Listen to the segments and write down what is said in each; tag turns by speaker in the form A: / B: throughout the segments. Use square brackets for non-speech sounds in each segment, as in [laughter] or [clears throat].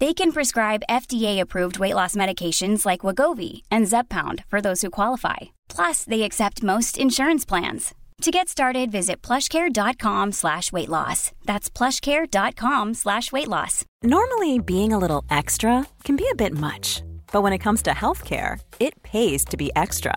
A: They can prescribe FDA-approved weight loss medications like Wagovi and Zepbound for those who qualify. Plus, they accept most insurance plans. To get started, visit plushcare.com slash weight loss. That's plushcare.com slash weight loss.
B: Normally, being a little extra can be a bit much, but when it comes to healthcare, it pays to be extra.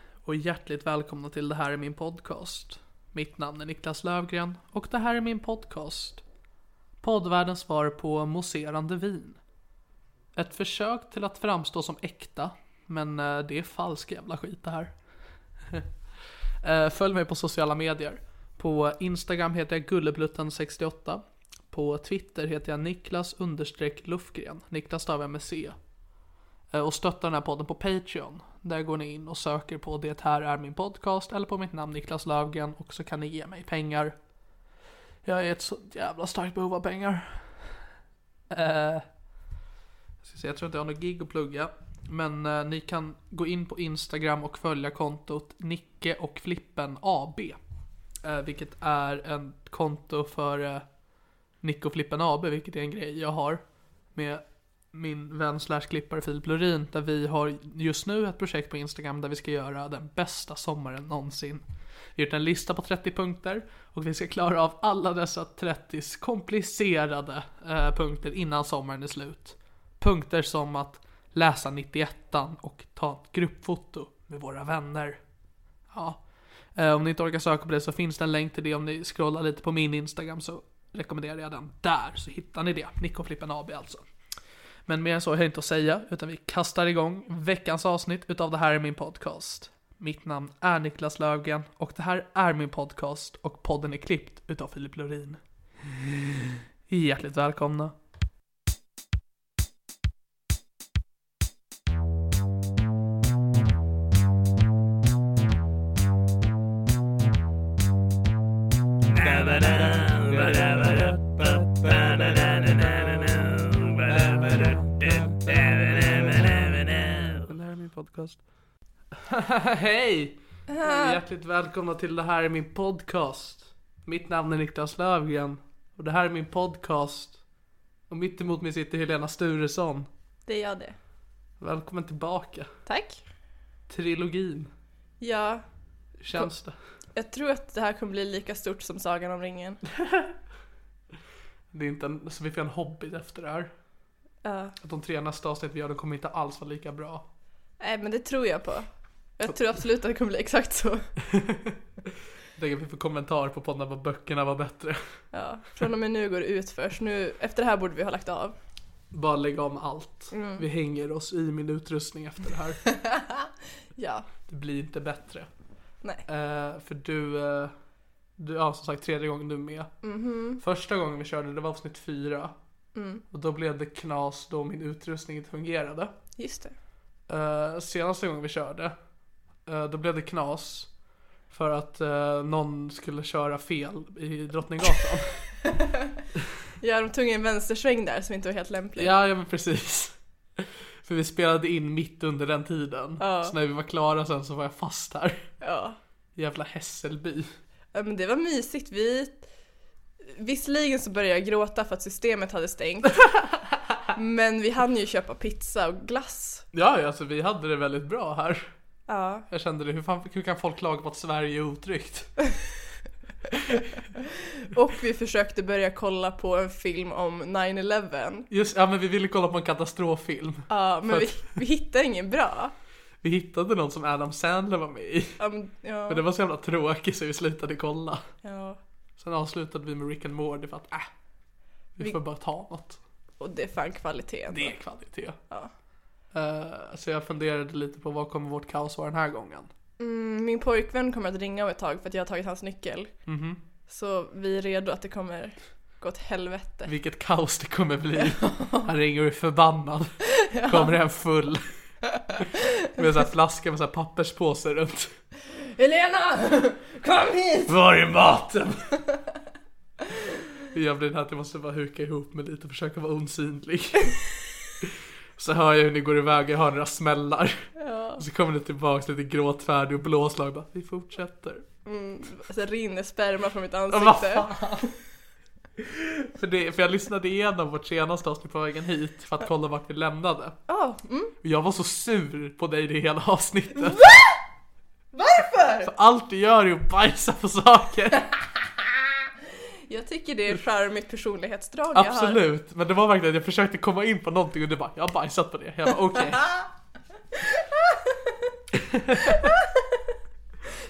C: och hjärtligt välkomna till Det här är min podcast. Mitt namn är Niklas Lövgren och det här är min podcast. Poddvärldens svar på mousserande vin. Ett försök till att framstå som äkta, men eh, det är falsk jävla skit det här. [laughs] Eh, Följ mig på sociala medier. På Instagram heter jag gullebluten68. På Twitter heter jag Niklas understreck Lufgren. Niklas stavar jag med C. Eh, och stötta den här podden på Patreon. Där går ni in och söker på Det här är min podcast eller på mitt namn Niklas Löfgren och så kan ni ge mig pengar. Jag är i ett så jävla starkt behov av pengar. Eh, jag, ska se, jag tror inte jag har något gig att plugga. Men eh, ni kan gå in på Instagram och följa kontot Nicke och Flippen AB. Eh, vilket är ett konto för eh, Nicke och Flippen AB, vilket är en grej jag har med min vän slash klippare Filip Lurin där vi har just nu ett projekt på Instagram där vi ska göra den bästa sommaren någonsin. Vi har gjort en lista på 30 punkter och vi ska klara av alla dessa 30 komplicerade eh, punkter innan sommaren är slut. Punkter som att läsa 91 och ta ett gruppfoto med våra vänner. Ja. Eh, Om ni inte orkar söka på det så finns det en länk till det om ni scrollar lite på min Instagram så rekommenderar jag den där så hittar ni det. Nickoflippen AB alltså. Men mer än så har jag inte att säga utan vi kastar igång veckans avsnitt utav det här är min podcast. Mitt namn är Niklas Löfgren och det här är min podcast och podden är klippt utav Filip Lorin. Hjärtligt välkomna. Det här är min podcast. [laughs] Hej! Hjärtligt välkomna till det här är min podcast. Mitt namn är Niklas Löfgren och det här är min podcast. Och mitt emot mig sitter Helena Sturesson.
D: Det är jag det.
C: Välkommen tillbaka.
D: Tack.
C: Trilogin.
D: Ja,
C: Hur känns det?
D: jag tror att det här kommer bli lika stort som Sagan om ringen.
C: det är inte en, så vi får en hobby efter det här.
D: Ja.
C: Att de tre nästa avsnitt vi gör, de kommer inte alls vara lika bra.
D: Nej men det tror jag på. Jag tror absolut att det kommer bli exakt så.
C: Jag tänker att vi får kommentarer på podden vad böckerna var bättre.
D: Ja. Från och med nu går det ut först. Nu, efter det här borde vi ha lagt av. Mm.
C: Bara lägga om allt. Vi hänger oss i min utrustning efter det här.
D: [laughs] Ja.
C: Det blir inte bättre.
D: Nej.
C: Eh, för du, eh, du, ja som sagt tredje gången du är med. Första gången vi körde det var avsnitt fyra. Och då blev det knas då min utrustning inte fungerade.
D: Just det.
C: Eh, senaste gången vi körde, eh, då blev det knas. För att eh, någon skulle köra fel i
D: [laughs]
C: Drottninggatan.
D: Ja, de tog en vänstersväng där som inte var helt lämplig.
C: ja, ja men precis. [laughs] För vi spelade in mitt under den tiden. [laughs]
D: Ja.
C: Så när vi var klara sen så var jag fast här.
D: Ja.
C: Jävla Hässelby.
D: Ja, men det var mysigt. Vi... Visserligen så började jag gråta för att systemet hade stängt. men vi hann ju köpa pizza och glass.
C: Ja, ja, alltså vi hade det väldigt bra här.
D: Ja.
C: Jag kände det, hur, fan, hur kan folk klaga på att Sverige är otryggt? [laughs]
D: Och vi försökte börja kolla på en film om 9-11.
C: Just, ja men vi ville kolla på en katastroffilm.
D: Ja, men
C: För
D: vi,
C: att-
D: vi hittade ingen bra.
C: Vi hittade någon som Adam Sandler var med i.
D: Ja, men, ja,
C: Men det var så jävla tråkigt så vi slutade kolla.
D: ja.
C: Sen avslutade vi med Rick and Morty för att äh, vi
D: Vi-
C: får bara ta något.
D: Och det är fan kvalitet. ändå.
C: Det är kvalitet.
D: Ja.
C: Eh, så jag funderade lite på vad kommer vårt kaos vara den här gången.
D: Mm, min pojkvän kommer att ringa om ett tag för att jag har tagit hans nyckel.
C: Mhm.
D: Så vi är redo att det kommer gå åt helvete.
C: Vilket kaos det kommer
D: [laughs]
C: bli. Han ringer och är förbannad. Kommer hem full. Med en sån här flaska med så här papperspåse runt.
D: Helena! [laughs] Kom hit!
C: Var är maten? Jag blir den här att jag måste bara huka ihop mig lite och försöka vara
D: [laughs]
C: osynlig. Så hör jag hur ni går iväg, jag hör några smällar. Och så kommer ni tillbaks lite gråtfärdig och blåslag bara, vi fortsätter.
D: Mm, alltså, det rinner sperma från mitt
C: Ja, vad
D: ansikte.
C: fan? För, det, för jag lyssnade igenom vårt senaste avsnitt på vägen hit för att kolla vart vi lämnade.
D: Ja, mm.
C: Och jag var så sur på dig det hela avsnittet.
D: Varför?
C: För allt du gör är att bajsa på saker.
D: Jag tycker det är charmigt personlighetsdrag jag har.
C: Absolut, men det var verkligen att jag försökte komma in på någonting och du bara jag har bajsat på det. Jag bara okej.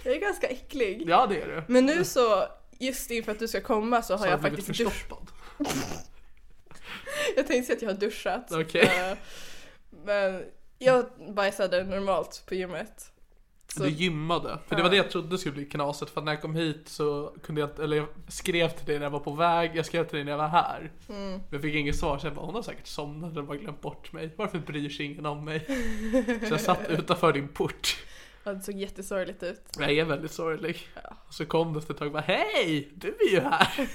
D: Jag är ganska äcklig.
C: Ja det är du.
D: Men nu så, just inför att du ska komma så har
C: Mm. Så
D: jag
C: blivit
D: faktiskt duschat.
C: förstoppad.
D: [laughs] Jag tänkte säga att jag har duschat.
C: Okej.
D: Eh, Men jag bajsade normalt på gymmet. Så,
C: Du gymmade. För det
D: Ja.
C: var det jag trodde skulle bli knaset för när jag kom hit så kunde jag, eller jag skrev till dig när jag var på väg, jag skrev till dig när jag var här.
D: mm,
C: Men jag fick inget svar så jag bara hon har säkert somnat eller bara glömt bort mig. Varför bryr sig ingen om mig? Så jag
D: [laughs]
C: satt utanför din port.
D: ja, det såg jättesorgligt ut.
C: Jag är väldigt sorglig. Och så kom du efter ett tag och bara hej! Du är ju här!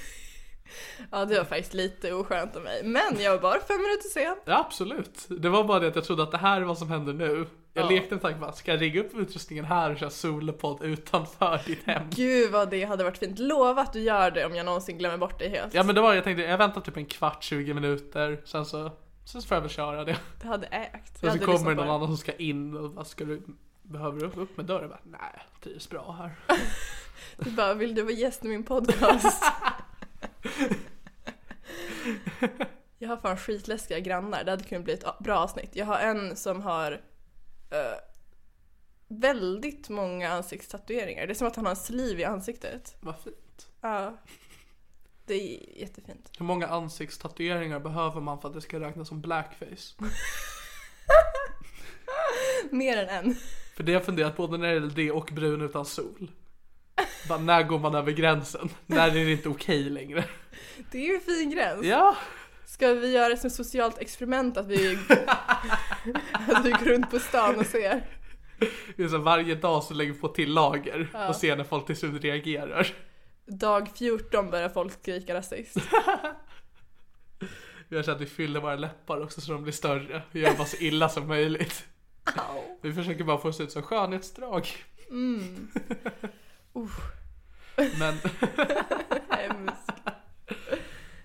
D: Ja, det var faktiskt lite oskönt av mig. Men jag var bara fem minuter sen.
C: Ja absolut. Det var bara det att jag trodde att det här är vad som händer nu. Jag
D: Ja.
C: lekte med tanken bara, ska jag rigga upp utrustningen här och köra solopodd utanför ditt hem?
D: Gud vad det hade varit fint. Lova att du gör det om jag någonsin glömmer bort dig helt.
C: Ja men det var jag tänkte, jag väntar typ en kvart, 20 minuter, sen så, sen så får jag väl köra det.
D: Det hade ägt. Jag
C: Sen så
D: hade
C: Alltså, kommer
D: lyssnat
C: det
D: på
C: någon annan som ska in och bara, ska du, behöver du upp med dörren? Jag bara, Nej, trivs bra här.
D: Du bara, vill du vara gäst i min podcast? jag har fan skitläskiga grannar. Det hade kunnat bli ett a- bra avsnitt. Jag har en som har eh, väldigt många ansiktstatueringar. Det är som att han har en sliv i ansiktet.
C: Vad fint.
D: Ja. Det är jättefint. [laughs]
C: Hur många ansiktstatueringar behöver man för att det ska räknas som blackface?
D: Mer än en.
C: För det har jag funderat både när det gäller det och brun utan sol. Bara, när går man över gränsen? När är det inte okej längre?
D: Det är ju en fin gräns.
C: Ja!
D: Ska vi göra ett sånt socialt experiment att vi, att vi går runt på stan och ser?
C: Det är så här, varje dag så lägger vi på till lager och ser när folk till slut reagerar.
D: Dag 14 börjar folk skrika [laughs] rasist.
C: Vi har så att vi fyller våra läppar också så de blir större. Vi gör bara så illa som möjligt. Vi försöker bara få oss ut som skönhetsdrag. [laughs] Men
D: Hemskt.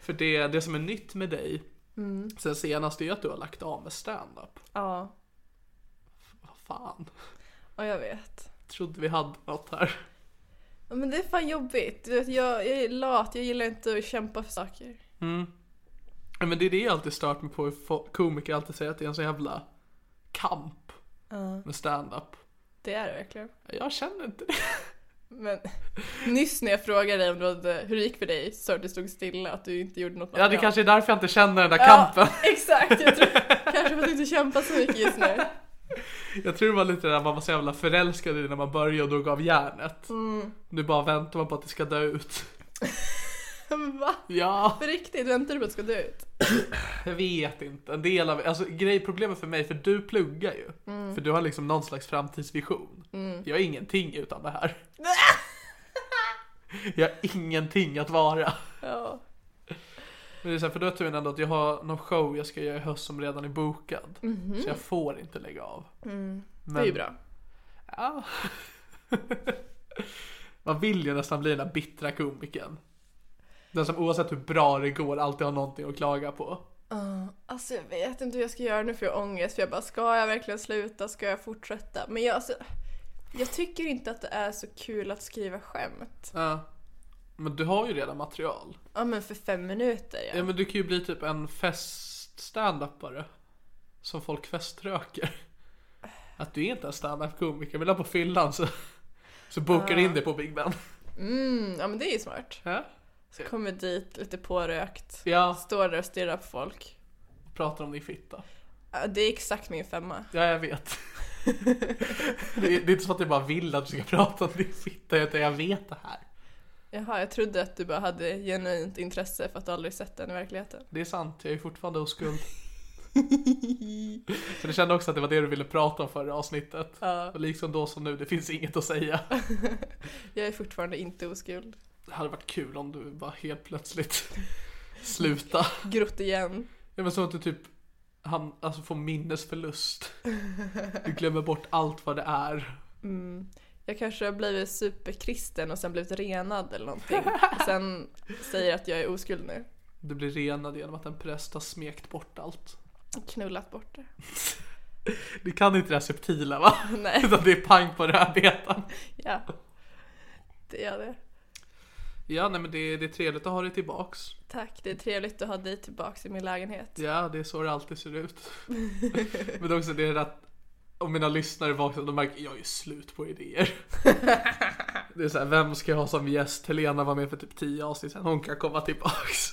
C: för det, det som är nytt med dig sen senast är ju att du har lagt av med standup.
D: Ja,
C: Vad fan?
D: ja, jag vet.
C: Trodde vi hade något här.
D: Ja, Men det är fan jobbigt. Du vet, jag, jag är lat, jag gillar inte att kämpa för saker.
C: Ja, Men det är det jag alltid stört mig på hur fo- komiker alltid säger att det är en sån jävla kamp med standup.
D: Det är det verkligen.
C: Jag känner inte det.
D: Men [laughs] nyss när jag frågade dig om du hade, hur det gick för dig så att du stod stilla, att du inte gjorde något
C: Ja det
D: bra.
C: kanske är därför jag inte känner den där kampen.
D: Ja, exakt. Jag tror, [laughs] kanske för att du inte kämpar så mycket just nu.
C: Jag tror det var lite det där man var så jävla förälskad i när man började och gav järnet.
D: Mm.
C: Nu bara väntar man på att det ska dö ut. [laughs]
D: Men [laughs] va?
C: Ja,
D: På riktigt, väntar du på att det ska dö ut?
C: jag vet inte. En del av, alltså grejproblemet för mig, för du pluggar ju. För du har liksom någon slags framtidsvision. Jag är ingenting utan det här. jag har ingenting att vara.
D: Ja.
C: Men det är så här, för då är turen ändå att jag har någon show jag ska göra i höst som redan är bokad. Så jag får inte lägga av.
D: Det är ju
C: Men-
D: bra.
C: Ja. [laughs] Man vill ju nästan bli den där bittra komikern. Den som oavsett hur bra det går alltid har någonting att klaga på.
D: Ja, alltså jag vet inte hur jag ska göra nu för jag har ångest för jag bara ska jag verkligen sluta, ska jag fortsätta? Men jag, alltså, jag tycker inte att det är så kul att skriva skämt.
C: Ja. Men du har ju redan material.
D: Ja men för fem minuter ja.
C: Ja men du kan ju bli typ en fest-standupare. Som folk feströker. Att du är inte en standup-komiker, men där på fyllan så, så bokar du in dig på Big Ben.
D: Mm, ja men det är ju smart.
C: Ja.
D: Så kommer dit lite pårökt,
C: Ja,
D: står där och stirrar på folk.
C: pratar om din fitta.
D: Ja, det är exakt min femma.
C: Ja, jag vet. det, är, det är inte så att jag bara vill att du ska prata om din fitta, utan jag vet det här.
D: Jaha, jag trodde att du bara hade genuint intresse för att du aldrig sett den i verkligheten.
C: Det är sant, jag är fortfarande oskuld. Så du kände också att det var det du ville prata om förra avsnittet.
D: Ja, [laughs]
C: Och liksom då som nu, det finns inget att säga.
D: jag är fortfarande inte oskuld.
C: Det hade varit kul om du bara helt plötsligt sluta.
D: Grott igen.
C: Ja men så att du typ han, alltså får minnesförlust. Du glömmer bort allt vad det är.
D: Mm. Jag kanske har blivit superkristen och sen blivit renad eller [laughs] någonting. Och sen säger att jag är oskuld nu.
C: Du blir renad genom att en präst har smekt bort allt.
D: Knullat bort det.
C: Du kan inte det här subtila va?
D: [laughs] Nej.
C: Utan det är pang på rödbetan.
D: Ja. Det är det.
C: Ja nej men det, det är trevligt att ha dig tillbaks.
D: Tack, det är trevligt att ha dig tillbaks i min lägenhet.
C: Ja det är så det alltid ser ut. men också det är att om mina lyssnare vaknar de märker jag är slut på idéer. det är såhär, vem ska jag ha som gäst? Helena var med för typ 10 avsnitt sen, hon kan komma tillbaks.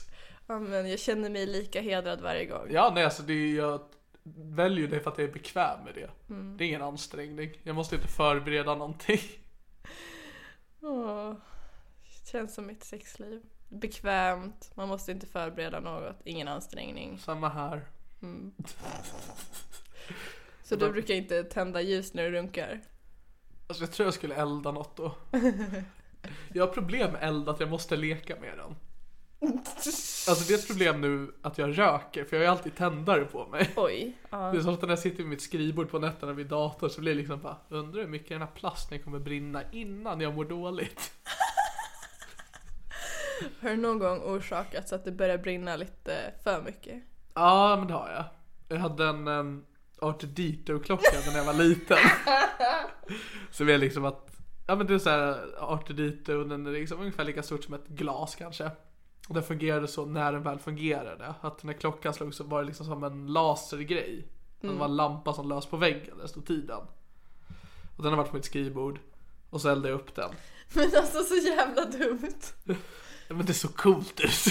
D: Ja, men jag känner mig lika hedrad varje gång.
C: Ja, nej alltså det är, jag väljer det för att jag är bekväm med det. Det är ingen ansträngning. Jag måste inte förbereda någonting.
D: Åh, det känns som mitt sexliv. Bekvämt, man måste inte förbereda något, ingen ansträngning. Mm.
C: Samma här. [laughs]
D: Så du brukar inte tända ljus när du runkar?
C: Alltså jag tror jag skulle elda något då. Jag har problem med eld, att jag måste leka med den. Alltså det är ett problem nu att jag röker, för jag har ju alltid tändare på mig.
D: Oj. Ja.
C: Det är så ofta när jag sitter vid mitt skrivbord på nätterna vid datorn så blir det liksom bara, undrar hur mycket den här plasten kommer brinna innan jag mår dåligt.
D: Har du någon gång orsakat så att det börjar brinna lite för mycket? [laughs]
C: Ja, men det har jag. Jag hade en um, Art Dito-klocka när jag var liten. Som är liksom att, ja men det är såhär Art Dito, den är liksom ungefär lika stort som ett glas kanske. Och den fungerade så när den väl fungerade. Att när klockan slog så var det liksom som en lasergrej. Mm. Det var en lampa som lös på väggen, där det stod tiden. Och den har varit på mitt skrivbord. Och så eldade jag upp den.
D: Men alltså så jävla dumt.
C: Ja, Men det såg coolt ut.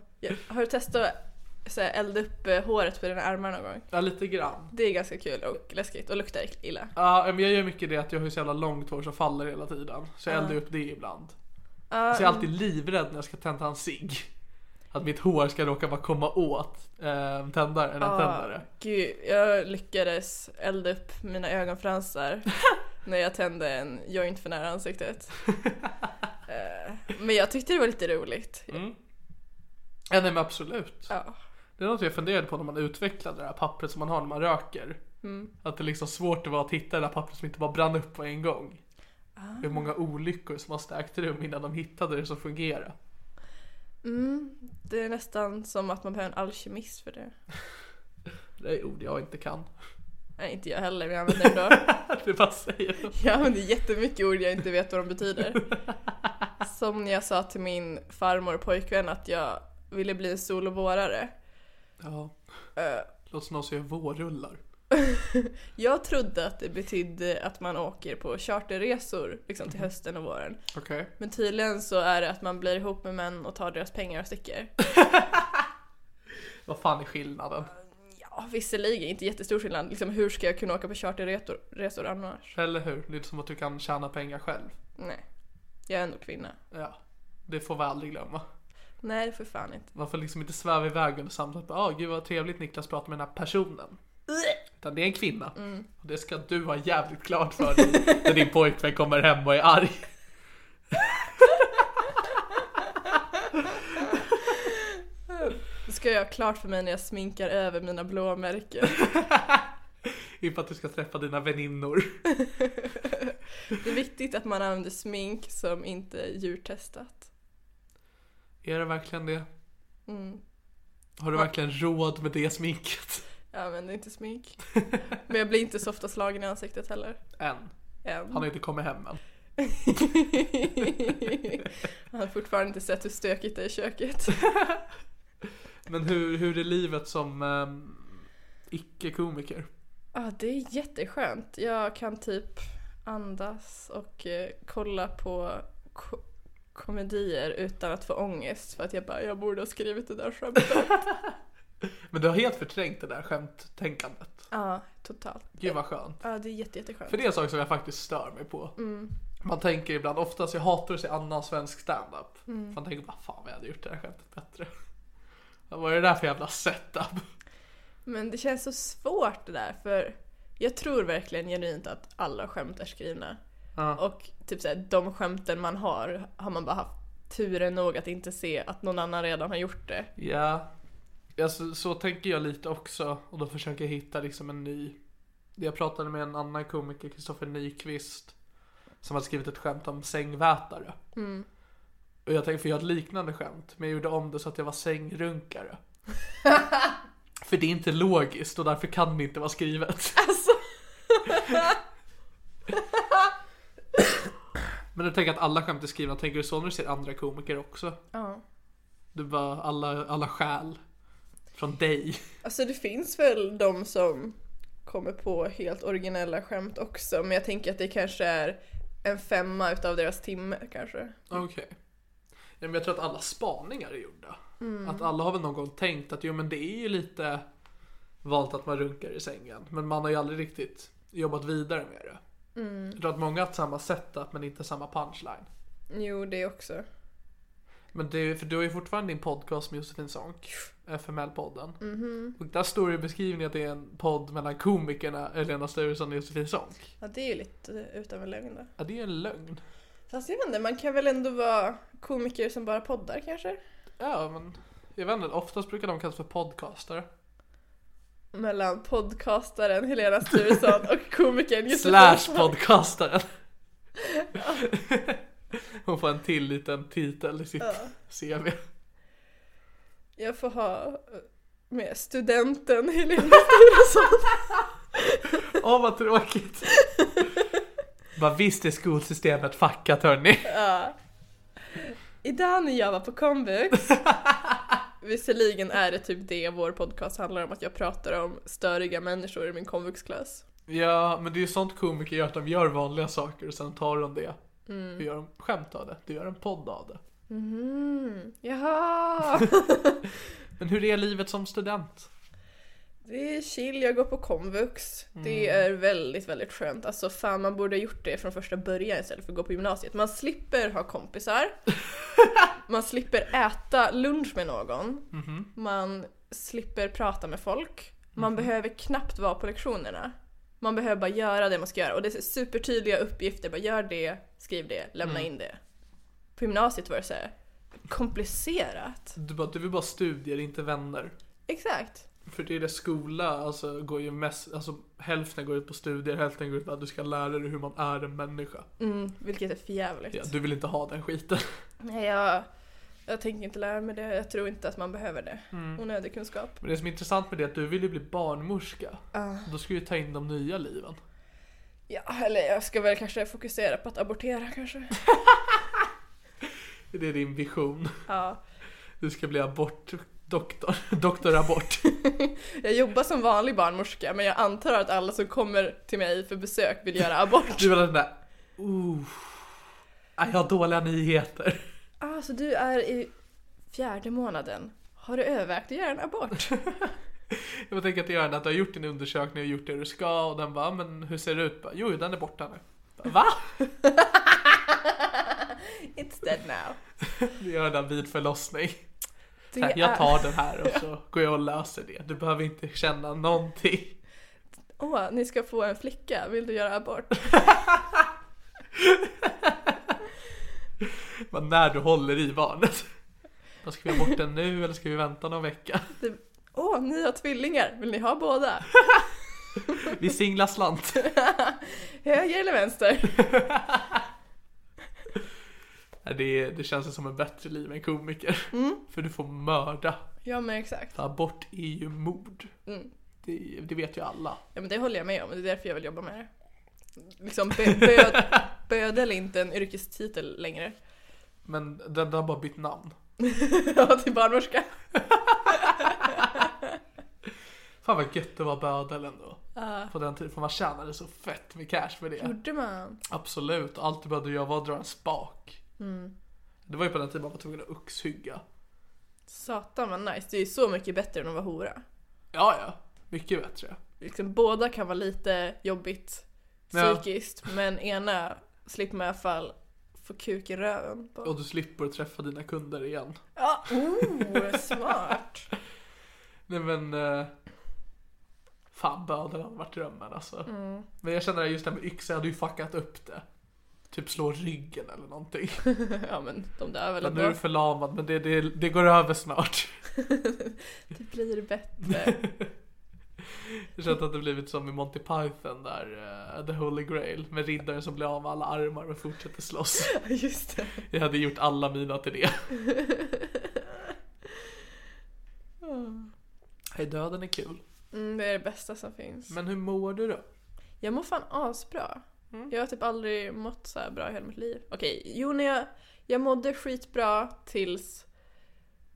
C: [laughs]
D: Ja. Har du testat att så här, elda upp eh, håret på dina armar någon gång?
C: Ja, lite grann.
D: Det är ganska kul och läskigt och luktar illa.
C: Ja, men jag gör mycket det att jag har ju så jävla långt hår som faller hela tiden. Så jag eldar upp det ibland. Så jag är alltid livrädd när jag ska tända en cigg. Att mitt hår ska råka bara komma åt eh, tändaren, en tändare.
D: mm, Gud, jag lyckades elda upp
C: [laughs]
D: mina ögonfransar när jag tände en joint för nära ansiktet. Eh, Men jag tyckte det var lite roligt.
C: Mm. Ja, nej men absolut.
D: Ja.
C: Det är något jag funderade på när man utvecklade det här pappret som man har när man röker. Att det är liksom svårt det var att hitta det där pappret som inte bara brann upp på en gång. Hur många olyckor som har stärkt rum innan de hittade det som fungerade.
D: Mm, Det är nästan som att man behöver en alkemist för det.
C: Det är ord jag inte kan. [laughs]
D: Nej, inte jag heller, men jag använder det ändå.
C: det bara säger de.
D: Jag använder jättemycket ord jag inte vet vad de betyder. Som när jag sa till min farmor och pojkvän att jag ville bli en solovårare.
C: Ja. Låter som någon som gör vårrullar.
D: Jag trodde att det betydde att man åker på charterresor liksom till hösten och våren.
C: Okej.
D: Men tydligen så är det att man blir ihop med män och tar deras pengar och sticker.
C: Vad fan är skillnaden?
D: Ja, visserligen inte jättestor skillnad. Liksom, hur ska jag kunna åka på charterresor resor annars?
C: Eller hur? Det är som att du kan tjäna pengar själv.
D: Nej, jag är ändå kvinna.
C: Ja. Det får vi aldrig glömma.
D: Nej, det får fan inte.
C: Man får liksom inte sväva iväg under samtalet. Ja, "Ah, gud vad trevligt Niklas pratar med den här personen. Utan det är en kvinna. Och det ska du ha jävligt klart för dig när din pojkvän kommer hem och är arg. [laughs]
D: Det ska jag ha klart för mig när jag sminkar över mina blåmärken.
C: Inför att du ska träffa dina väninnor.
D: Det är viktigt att man använder smink som inte är djurtestat.
C: Är det verkligen det?
D: Mm.
C: Har du verkligen råd med det sminket?
D: Jag använder inte smink. Men jag blir inte så ofta slagen i ansiktet heller.
C: Än.
D: Än. [laughs]
C: Han har inte kommit hem än.
D: Han har fortfarande inte sett hur stökigt det är i köket.
C: Men hur, hur är livet som ehm, icke-komiker?
D: Ja, det är jätteskönt. Jag kan typ andas och eh, kolla på ko- komedier utan att få ångest för att jag bara, jag borde ha skrivit det där
C: [laughs]
D: skämtet.
C: Men du har helt förträngt det där skämttänkandet.
D: ja, totalt.
C: Gud vad skönt.
D: Ja, det är jätte, jätteskönt.
C: För det är en sak som jag faktiskt stör mig på. Man tänker ibland, oftast jag hatar att se annan svensk standup. Man tänker bara fan vad jag hade gjort det här skämtet bättre. Vad var det där för jävla setup?
D: Men det känns så svårt det där för jag tror verkligen genuint att alla skämt är skrivna.
C: Ja.
D: Och typ såhär, de skämten man har har man bara haft turen nog att inte se att någon annan redan har gjort det.
C: Ja, alltså, så tänker jag lite också och då försöker jag hitta liksom en ny. Jag pratade med en annan komiker, Kristoffer Nyqvist, som hade skrivit ett skämt om sängvätare. Och jag tänkte, för jag hade ett liknande skämt, men jag gjorde om det så att jag var sängrunkare. för det är inte logiskt och därför kan det inte vara skrivet. [laughs] men du tänker jag att alla skämt är skrivna, tänker du så när du ser andra komiker också?
D: Ja.
C: Du bara, alla, alla skäl från dig.
D: Alltså det finns väl de som kommer på helt originella skämt också men jag tänker att det kanske är en femma utav deras timme kanske.
C: Okej. Ja, men jag tror att alla spaningar är gjorda. Att alla har väl någon gång tänkt att jo men det är ju lite valt att man runkar i sängen. Men man har ju aldrig riktigt jobbat vidare med det. Jag tror att många har haft samma setup men inte samma punchline.
D: Jo, det också.
C: Men du, för du har ju fortfarande din podcast med Josefin Sonck, FML-podden. Och där står det i beskrivningen att det är en podd mellan komikerna Elena Sturesson och Josefin Sonck.
D: Ja, det är ju lite utan en lögn då.
C: Ja, det är ju en lögn.
D: Fast jag vet inte, man kan väl ändå vara komiker som bara poddar kanske?
C: Ja, men jag vet inte, oftast brukar de kallas för podcaster.
D: Mellan podcastaren Helena Sturesson och komikern Josefin
C: Slash
D: Svahn.
C: podcastaren. [laughs] Hon får en till liten titel i sitt CV.
D: Jag får ha eh, med studenten Helena Sturesson.
C: [laughs] Åh vad tråkigt. Bara visst är skolsystemet fuckat hörni.
D: Idag när jag var på komvux Visserligen är det typ det vår podcast handlar om, att jag pratar om störiga människor i min komvuxklass.
C: Ja men det är ju sånt komiker gör att de gör vanliga saker och sen tar de det. Du gör en skämt av det, du gör en podd av det.
D: Mm, jaha!
C: Men hur är livet som student?
D: Det är chill, jag går på komvux. Det är väldigt, väldigt skönt. Alltså fan, man borde ha gjort det från första början istället för att gå på gymnasiet. Man slipper ha kompisar. man slipper äta lunch med någon. Man slipper prata med folk. Man behöver knappt vara på lektionerna. Man behöver bara göra det man ska göra. Och det är supertydliga uppgifter. Bara gör det, skriv det, lämna in det. På gymnasiet var det så här komplicerat.
C: Du, bara, du vill bara studier, inte vänner.
D: Exakt.
C: För det är det skola, alltså går ju mest, alltså hälften går ut på studier, hälften går ut på att du ska lära dig hur man är en människa.
D: Mm, vilket är för jävligt.
C: Ja, du vill inte ha den skiten. [laughs]
D: Nej, jag, jag tänker inte lära mig det. Jag tror inte att man behöver det.
C: Mm.
D: Onödig kunskap.
C: Men det som är intressant med det är att du vill ju bli barnmorska. Då ska du ju ta in de nya liven.
D: Ja, eller jag ska väl kanske fokusera på att abortera
C: [laughs]
D: kanske.
C: Det är din vision.
D: Ja.
C: Du ska bli abortdoktor. [laughs] Doktor abort.
D: Jag jobbar som vanlig barnmorska men jag antar att alla som kommer till mig för besök vill göra
C: [laughs]
D: abort.
C: Du vill ha den där... Uh, jag har dåliga nyheter. [laughs]
D: Ah, så du är i fjärde månaden. Har du övervägt att göra en abort?
C: Jag tänker att det gör att du har gjort din undersökning och gjort det du ska och den bara, men hur ser det ut? Bara, jo, den är borta nu. Bara, Va?
D: [laughs]
C: [laughs]
D: It's dead now.
C: Du gör den där vid förlossning.
D: Det
C: Jag
D: är-
C: tar den här och så går jag och löser det. Du behöver inte känna någonting.
D: [laughs] Åh, ni ska få en flicka. Vill du göra abort?
C: Bara när du håller i barnet. Vad ska vi ha bort den nu eller ska vi vänta någon vecka?
D: Det- Åh, ni har tvillingar. Vill ni ha båda?
C: Vi singlar slant.
D: Höger eller vänster?
C: Nej, Det, det känns ju som en bättre liv än komiker.
D: Mm.
C: För du får mörda.
D: Ja men exakt.
C: För abort är ju mord.
D: Mm.
C: Det, det vet ju alla.
D: Ja men det håller jag med om, det är därför jag vill jobba med det. Liksom bö-
C: [laughs]
D: böd, bödel är inte en yrkestitel längre. [laughs]
C: Men den, den har bara bytt namn.
D: Ja, till
C: [laughs]
D: barnmorska.
C: Fan vad gött det var bödel ändå. På den tiden, för man tjänade så fett med cash för det.
D: Gjorde man?
C: Absolut, allt du behövde göra var att dra en spak.
D: Mm.
C: Det var ju på den tiden man var tvungen att uxhygga.
D: Satan vad nice, det är ju så mycket bättre än att vara hora.
C: Ja, ja. Mycket bättre.
D: Liksom, båda kan vara lite jobbigt
C: Ja.
D: psykiskt men ena slipper man i alla fall få kuk i röven. På.
C: Och du slipper träffa dina kunder igen.
D: Ja, oh, smart. [laughs]
C: Nej men... Eh, fan bödeln hade varit drömmen alltså. Men jag känner just det här med yxa, jag hade ju fuckat upp det. Typ slå ryggen eller någonting.
D: Ja men de där väl
C: Men nu är
D: ändå.
C: du förlamad men det, det, det går över snart.
D: [laughs] Det blir bättre.
C: Jag känner att [laughs] det blivit som i Monty Python där, eh, The Holy Grail. Med riddaren som blir av med alla armar men fortsätter
D: [laughs]
C: slåss.
D: Just det.
C: Jag hade gjort alla mina till
D: [laughs]
C: det. Hej döden är kul.
D: Mm, det är det bästa som finns.
C: Men hur mår du då?
D: Jag mår fan asbra. Jag har typ aldrig mått så här bra i hela mitt liv. Okej, jo när jag, jag mådde skitbra tills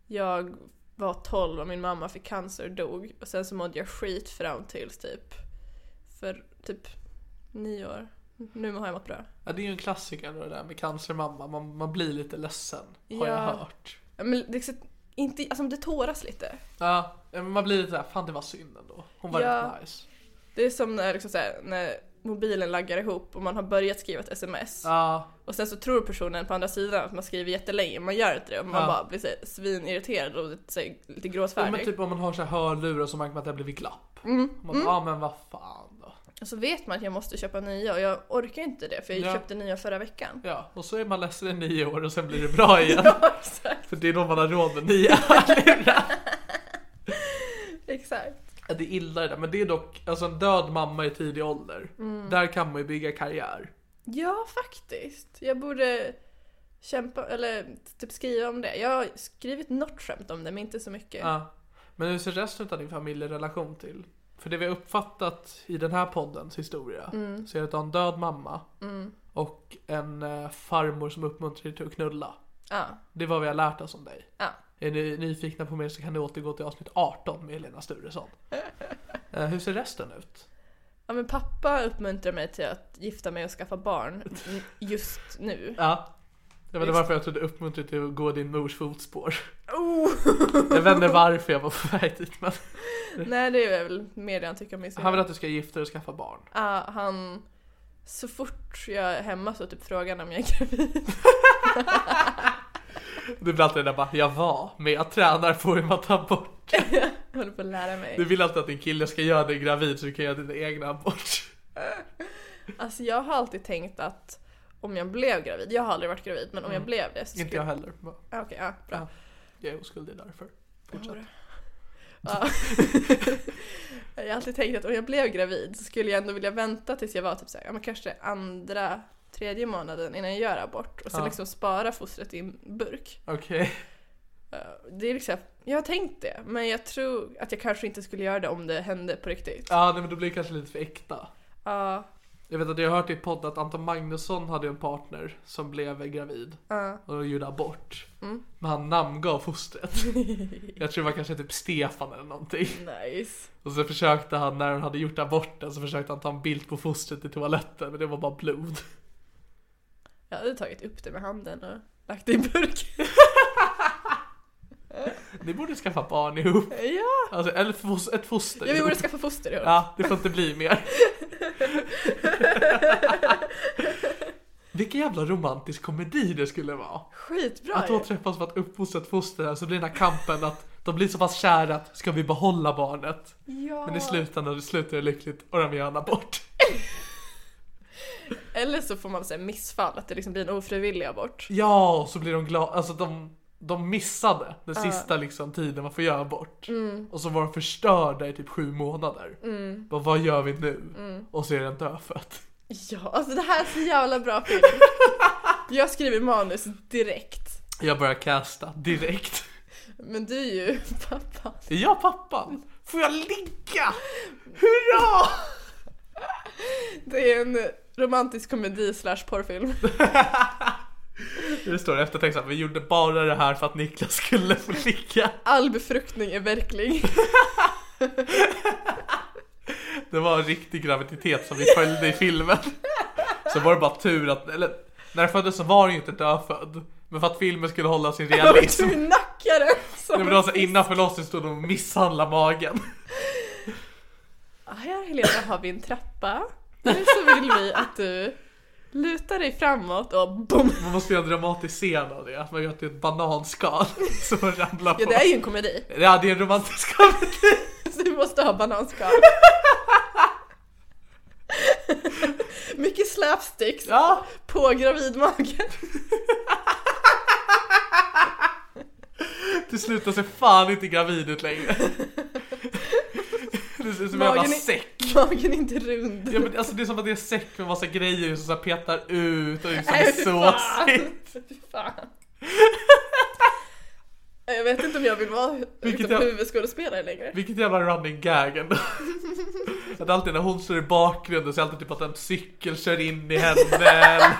D: jag var 12 och min mamma fick cancer och dog. Och sen så mådde jag skit fram tills typ för typ nio år. Nu har jag mått bra.
C: Ja, det är ju en klassiker det där med cancermamma, man, man blir lite ledsen har
D: Ja.
C: jag hört.
D: Ja, Men det, är så- inte, alltså det tåras lite.
C: Ja, men man blir lite såhär, fan det var synd ändå. Hon var
D: Ja.
C: rätt nice.
D: Det är som när, liksom så här, när mobilen laggar ihop och man har börjat skriva ett sms.
C: Ja,
D: Och sen så tror personen på andra sidan att man skriver jättelänge, man gör inte det. Och man
C: Ja.
D: bara blir så här svinirriterad och lite, så här, lite
C: ja,
D: gråtfärdig.
C: men typ om man har så här hörlurar så märker man att det har blivit glapp. Man bara, ja men vad fan då.
D: Och så vet man att jag måste köpa nya och jag orkar inte det för jag
C: Ja.
D: köpte nya förra veckan.
C: [laughs]
D: [laughs]
C: Ja, och så är man ledsen i nio år och sen blir det bra igen.
D: Ja, exakt.
C: För det är då man har råd med nya hörlurar.
D: exakt.
C: Ja, det är illa det där, men det är dock, alltså en död mamma i tidig ålder, där kan man ju bygga karriär.
D: Ja, faktiskt. Jag borde kämpa, eller typ skriva om det. Jag har skrivit något skämt om det, men inte så mycket.
C: Ja. Men hur ser resten av din familj i relation till? För det vi har uppfattat i den här poddens historia så är det att du har en död mamma och en eh, farmor som uppmuntrar dig till att knulla.
D: Ja.
C: Det är vad vi har lärt oss om dig.
D: Ja.
C: Är ni nyfikna på mer så kan ni återgå till avsnitt 18 med Helena Sturesson. Eh, hur ser resten ut?
D: ja, men pappa uppmuntrar mig till att gifta mig och skaffa barn n- just
C: [laughs]
D: nu.
C: Ja. Jag vet inte
D: Just-
C: varför jag trodde uppmuntrar dig till att gå i din mors fotspår.
D: Oh!
C: Jag vet inte varför jag var på väg dit men.
D: Nej, det är väl mer det han tycker om min syrra.
C: Han vill att du ska gifta dig och skaffa barn.
D: Ja, Ah, han... Så fort jag är hemma så typ frågar han om jag är gravid. [laughs]
C: Du blir alltid där bara, jag var, men jag tränar på hur man tar bort.
D: Jag håller på att lära mig.
C: Du vill alltid att din kille ska göra dig gravid så du kan göra dina egna abort.
D: Alltså jag har alltid tänkt att om jag blev gravid, jag har aldrig varit gravid, men om jag blev det så
C: Mm. Inte jag heller. men
D: Ah, Okej, ja, bra.
C: Ja. Jag är oskyldig därför. Fortsätt.
D: Ja. Ah. [laughs] jag har alltid tänkt att om jag blev gravid så skulle jag ändå vilja vänta tills jag var typ så här, ja, men kanske andra, tredje månaden innan jag gör abort och så
C: Ja.
D: liksom spara fostret i en burk.
C: Okej.
D: Eh, Det är liksom, jag har tänkt det, men jag tror att jag kanske inte skulle göra det om det hände på riktigt.
C: Ja, nej men då blir det kanske lite för äkta.
D: Ja,
C: Jag vet att jag har hört i podd att Anton Magnusson hade en partner som blev gravid
D: ja. Mm.
C: och gjorde abort. Men han namngav fostret.
D: [laughs]
C: Jag tror det var kanske typ Stefan eller någonting.
D: nice.
C: Och så försökte han, när han hade gjort aborten, så försökte han ta en bild på fostret i toaletten men det var bara blod.
D: Jag hade tagit upp det med handen och lagt det i burk.
C: [laughs] Ni borde skaffa barn ihop.
D: ja!
C: Alltså, eller fos- ett foster
D: Ja, vi
C: ihop.
D: borde skaffa foster ihop.
C: Ja, det får inte bli mer. Vilken jävla romantisk komedi det skulle vara.
D: [laughs] Skitbra
C: Att
D: ju.
C: då träffas för att uppfostra ett foster här, så blir den här kampen att de blir så pass kära att ska vi behålla barnet?
D: Ja.
C: Men i slutändan det slutar det lyckligt och de gör en abort.
D: Eller så får man säga missfall, att det liksom blir en ofrivillig abort.
C: Ja, och så blir de glada, alltså de, de missade den sista liksom, tiden man får göra abort. Och så var de förstörda i typ sju månader. Bara, vad gör vi nu? Och så är den dödfött.
D: Ja, alltså det här är så jävla bra film.
C: [laughs]
D: Jag skriver manus direkt.
C: Jag börjar casta direkt.
D: Men du är ju [laughs] pappa.
C: Är jag pappan? Får jag ligga? Hurra!
D: Det är en romantisk komedi slash porrfilm.
C: Det står i eftertexten att vi gjorde bara det här för att Niklas skulle få ligga.
D: All befruktning är verklig.
C: Det var en riktig graviditet som vi följde i filmen. Så var det bara tur att, eller när jag föddes så var den ju inte dödfödd. Men för att filmen skulle hålla
D: [laughs]
C: sin
D: Jag var
C: realism.
D: tur nackare.
C: Det var Liksom. alltså innan förlossningen stod de och misshandlade magen.
D: Här Helena har vi en trappa. Nu så vill vi att du lutar dig framåt och boom.
C: Man måste göra en dramatisk scen av det, att man gör till ett bananskal [laughs] som man ramlar på.
D: Ja det är ju en komedi.
C: Ja, det är en romantisk komedi.
D: Så du måste ha bananskal. Mycket slapsticks
C: Ja,
D: på gravidmagen.
C: till slut så ser fan inte gravid ut längre. [laughs] Det ser ut som en jävla
D: Magen är-
C: säck.
D: Magen är inte rund.
C: Ja, men alltså, det är som att det är en säck med massa grejer som så här petar ut och liksom
D: Nej,
C: är
D: fy fan.
C: såsigt.
D: Fy fan. Jag vet inte om jag vill vara liksom,
C: jag-
D: huvudskådespelare längre.
C: Vilket jävla running gag ändå. Att alltid när hon står i bakgrunden så är det alltid typ att en cykel kör in i henne.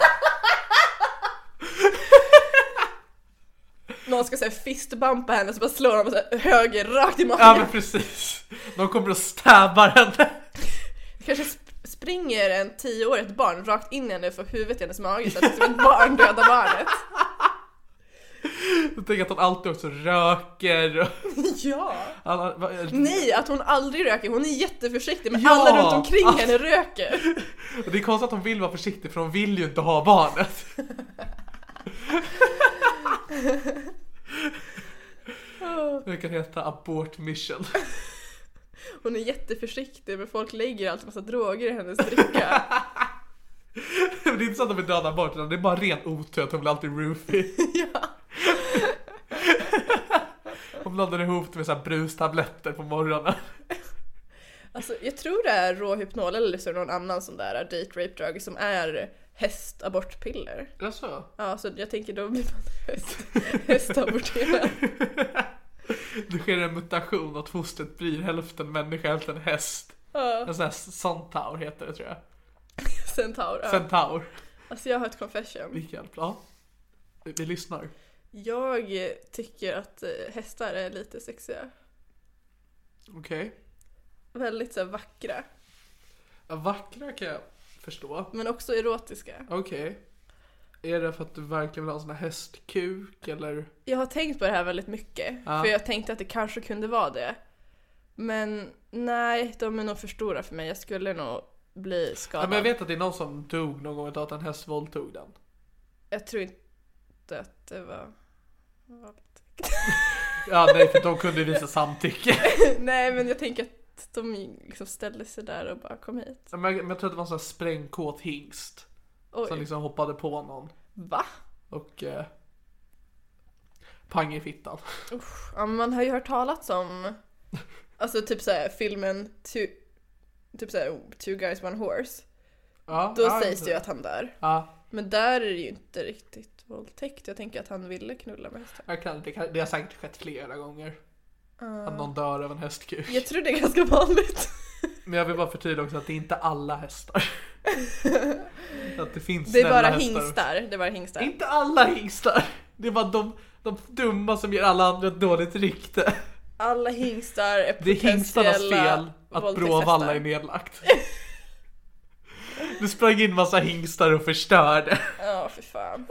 D: Någon ska säga fistbampa henne så bara slår de så här, höger rakt i magen.
C: Ja men precis. De kommer och stabbar henne.
D: Kanske sp- springer en tioårigt barn rakt in i henne för huvudet i hennes mage så att det är som ett barn dödar
C: [laughs]
D: barnet.
C: Jag tänker att hon alltid också röker. och
D: Ja!
C: Alla, va-
D: Nej, att hon aldrig röker. Hon är jätteförsiktig men
C: Ja.
D: alla runt omkring
C: [laughs]
D: henne röker.
C: och det är konstigt att hon vill vara försiktig för hon vill ju inte ha barnet. Det kan heta abort mission.
D: Hon är jätteförsiktig men folk lägger alltid massa droger i hennes dricka.
C: [laughs] Men det är inte så att de vill döda bort utan det är bara ren otur att hon blir alltid roofie.
D: ja.
C: Hon blandar ihop det med så här brustabletter på morgonen.
D: Alltså, jag tror det är råhypnol eller så är det någon annan sån där date rape drug som är hästabortpiller.
C: Jaså?
D: Ja, så jag tänker då blir man [laughs] häst, hästaborterad.
C: Det sker en mutation att fostret blir hälften människa hälften häst.
D: Ja,
C: En sån här centaur heter det tror jag.
D: centaur. Ja.
C: Centaur.
D: Alltså jag har ett confession.
C: Vilken? Ja. Vi, vi lyssnar.
D: Jag tycker att eh, hästar är lite sexiga.
C: Okej.
D: Väldigt så här, vackra.
C: Ja, vackra kan jag förstå.
D: Men också erotiska.
C: Okej. Är det för att du verkligen vill ha en sån här hästkuk eller?
D: Jag har tänkt på det här väldigt mycket.
C: Ja.
D: För jag tänkte att det kanske kunde vara det. Men nej, de är nog för stora för mig. Jag skulle nog bli
C: Ja,
D: skadad.
C: men jag vet att det är någon som dog någon gång utav att en häst våldtog den.
D: Jag tror inte att det var... [laughs] var-
C: Ja nej för de kunde ju visa
D: [laughs]
C: samtycke.
D: Nej men jag tänker att de liksom ställde sig där och bara kom hit.
C: Ja, Men jag, men jag tror att det var en sån här sprängkåt hingst.
D: Oj,
C: Som liksom hoppade på någon.
D: va?
C: Och eh, pang i fittan. [laughs]
D: Usch. Ja, men man har ju hört talas om alltså typ såhär filmen two, typ såhär Two guys one horse.
C: Ja,
D: Då
C: ja,
D: sägs det ju
C: ja.
D: att han dör.
C: Ja,
D: Men där är det ju inte riktigt våldtäkt. Jag tänker att han ville knulla med hästen.
C: jag kan, det, kan, det har säkert skett flera gånger. Att någon dör av en hästkuk.
D: Ah, Jag tror det är ganska vanligt.
C: [laughs] Men jag vill bara förtydliga också att det är inte alla hästar. [laughs] att det finns
D: Det är bara
C: snälla hästar.
D: hingstar. Det är bara hingstar.
C: Inte alla hingstar. Det är bara de, de dumma som ger alla andra ett dåligt rykte.
D: Alla hingstar är
C: Det är
D: potentiella
C: hingstarnas fel att Bråvalla
D: våldtäktshästar.
C: är nedlagt. Det sprang in massa hingstar och förstörde.
D: Ja, för fan.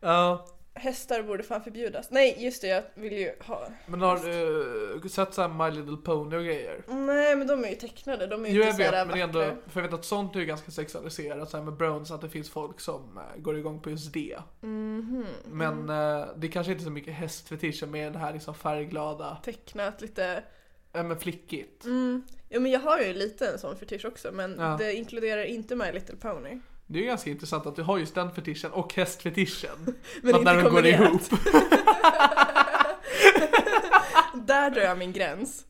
C: Ja,
D: Hästar borde fan förbjudas. Nej, just det, jag vill ju ha...
C: men har du eh, sett såhär My Little Pony och grejer?
D: Nej, men de är ju tecknade, de är ju
C: Jo
D: inte
C: jag vet,
D: sådär
C: men det är ändå,
D: vackra.
C: för jag vet att sånt är ju ganska sexualiserat så här med Browns, att det finns folk som eh, går igång på just det. Men eh, det kanske inte är så mycket hästfetischer med det här liksom färgglada,
D: Tecknat lite...
C: äh, men flickigt.
D: Mm. Ja, men jag har ju lite en sån fetisch också, men
C: Mm. Ja.
D: det inkluderar inte My Little Pony.
C: Det är ju ganska intressant att du har just den fetischen och hästfetischen.
D: Men
C: att
D: inte
C: när de går
D: kombinerat.
C: ihop.
D: [laughs] Där drar jag min gräns.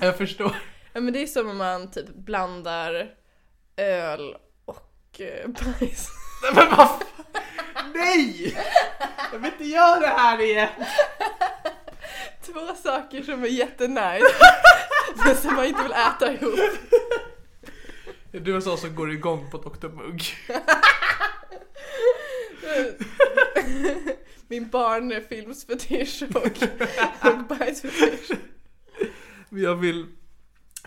C: Jag förstår. [laughs]
D: Ja, men det är som om man typ blandar öl och eh, bajs. [laughs]
C: Nej, Men vad fan? Nej! Jag vill inte göra det här igen!
D: Två saker som är jättenice [laughs] men som man inte vill äta ihop. [laughs]
C: Du är en sån som går igång på Dr. Mugg.
D: Min barnfilmsfetisch och, och bajsfetisch.
C: Men Jag vill...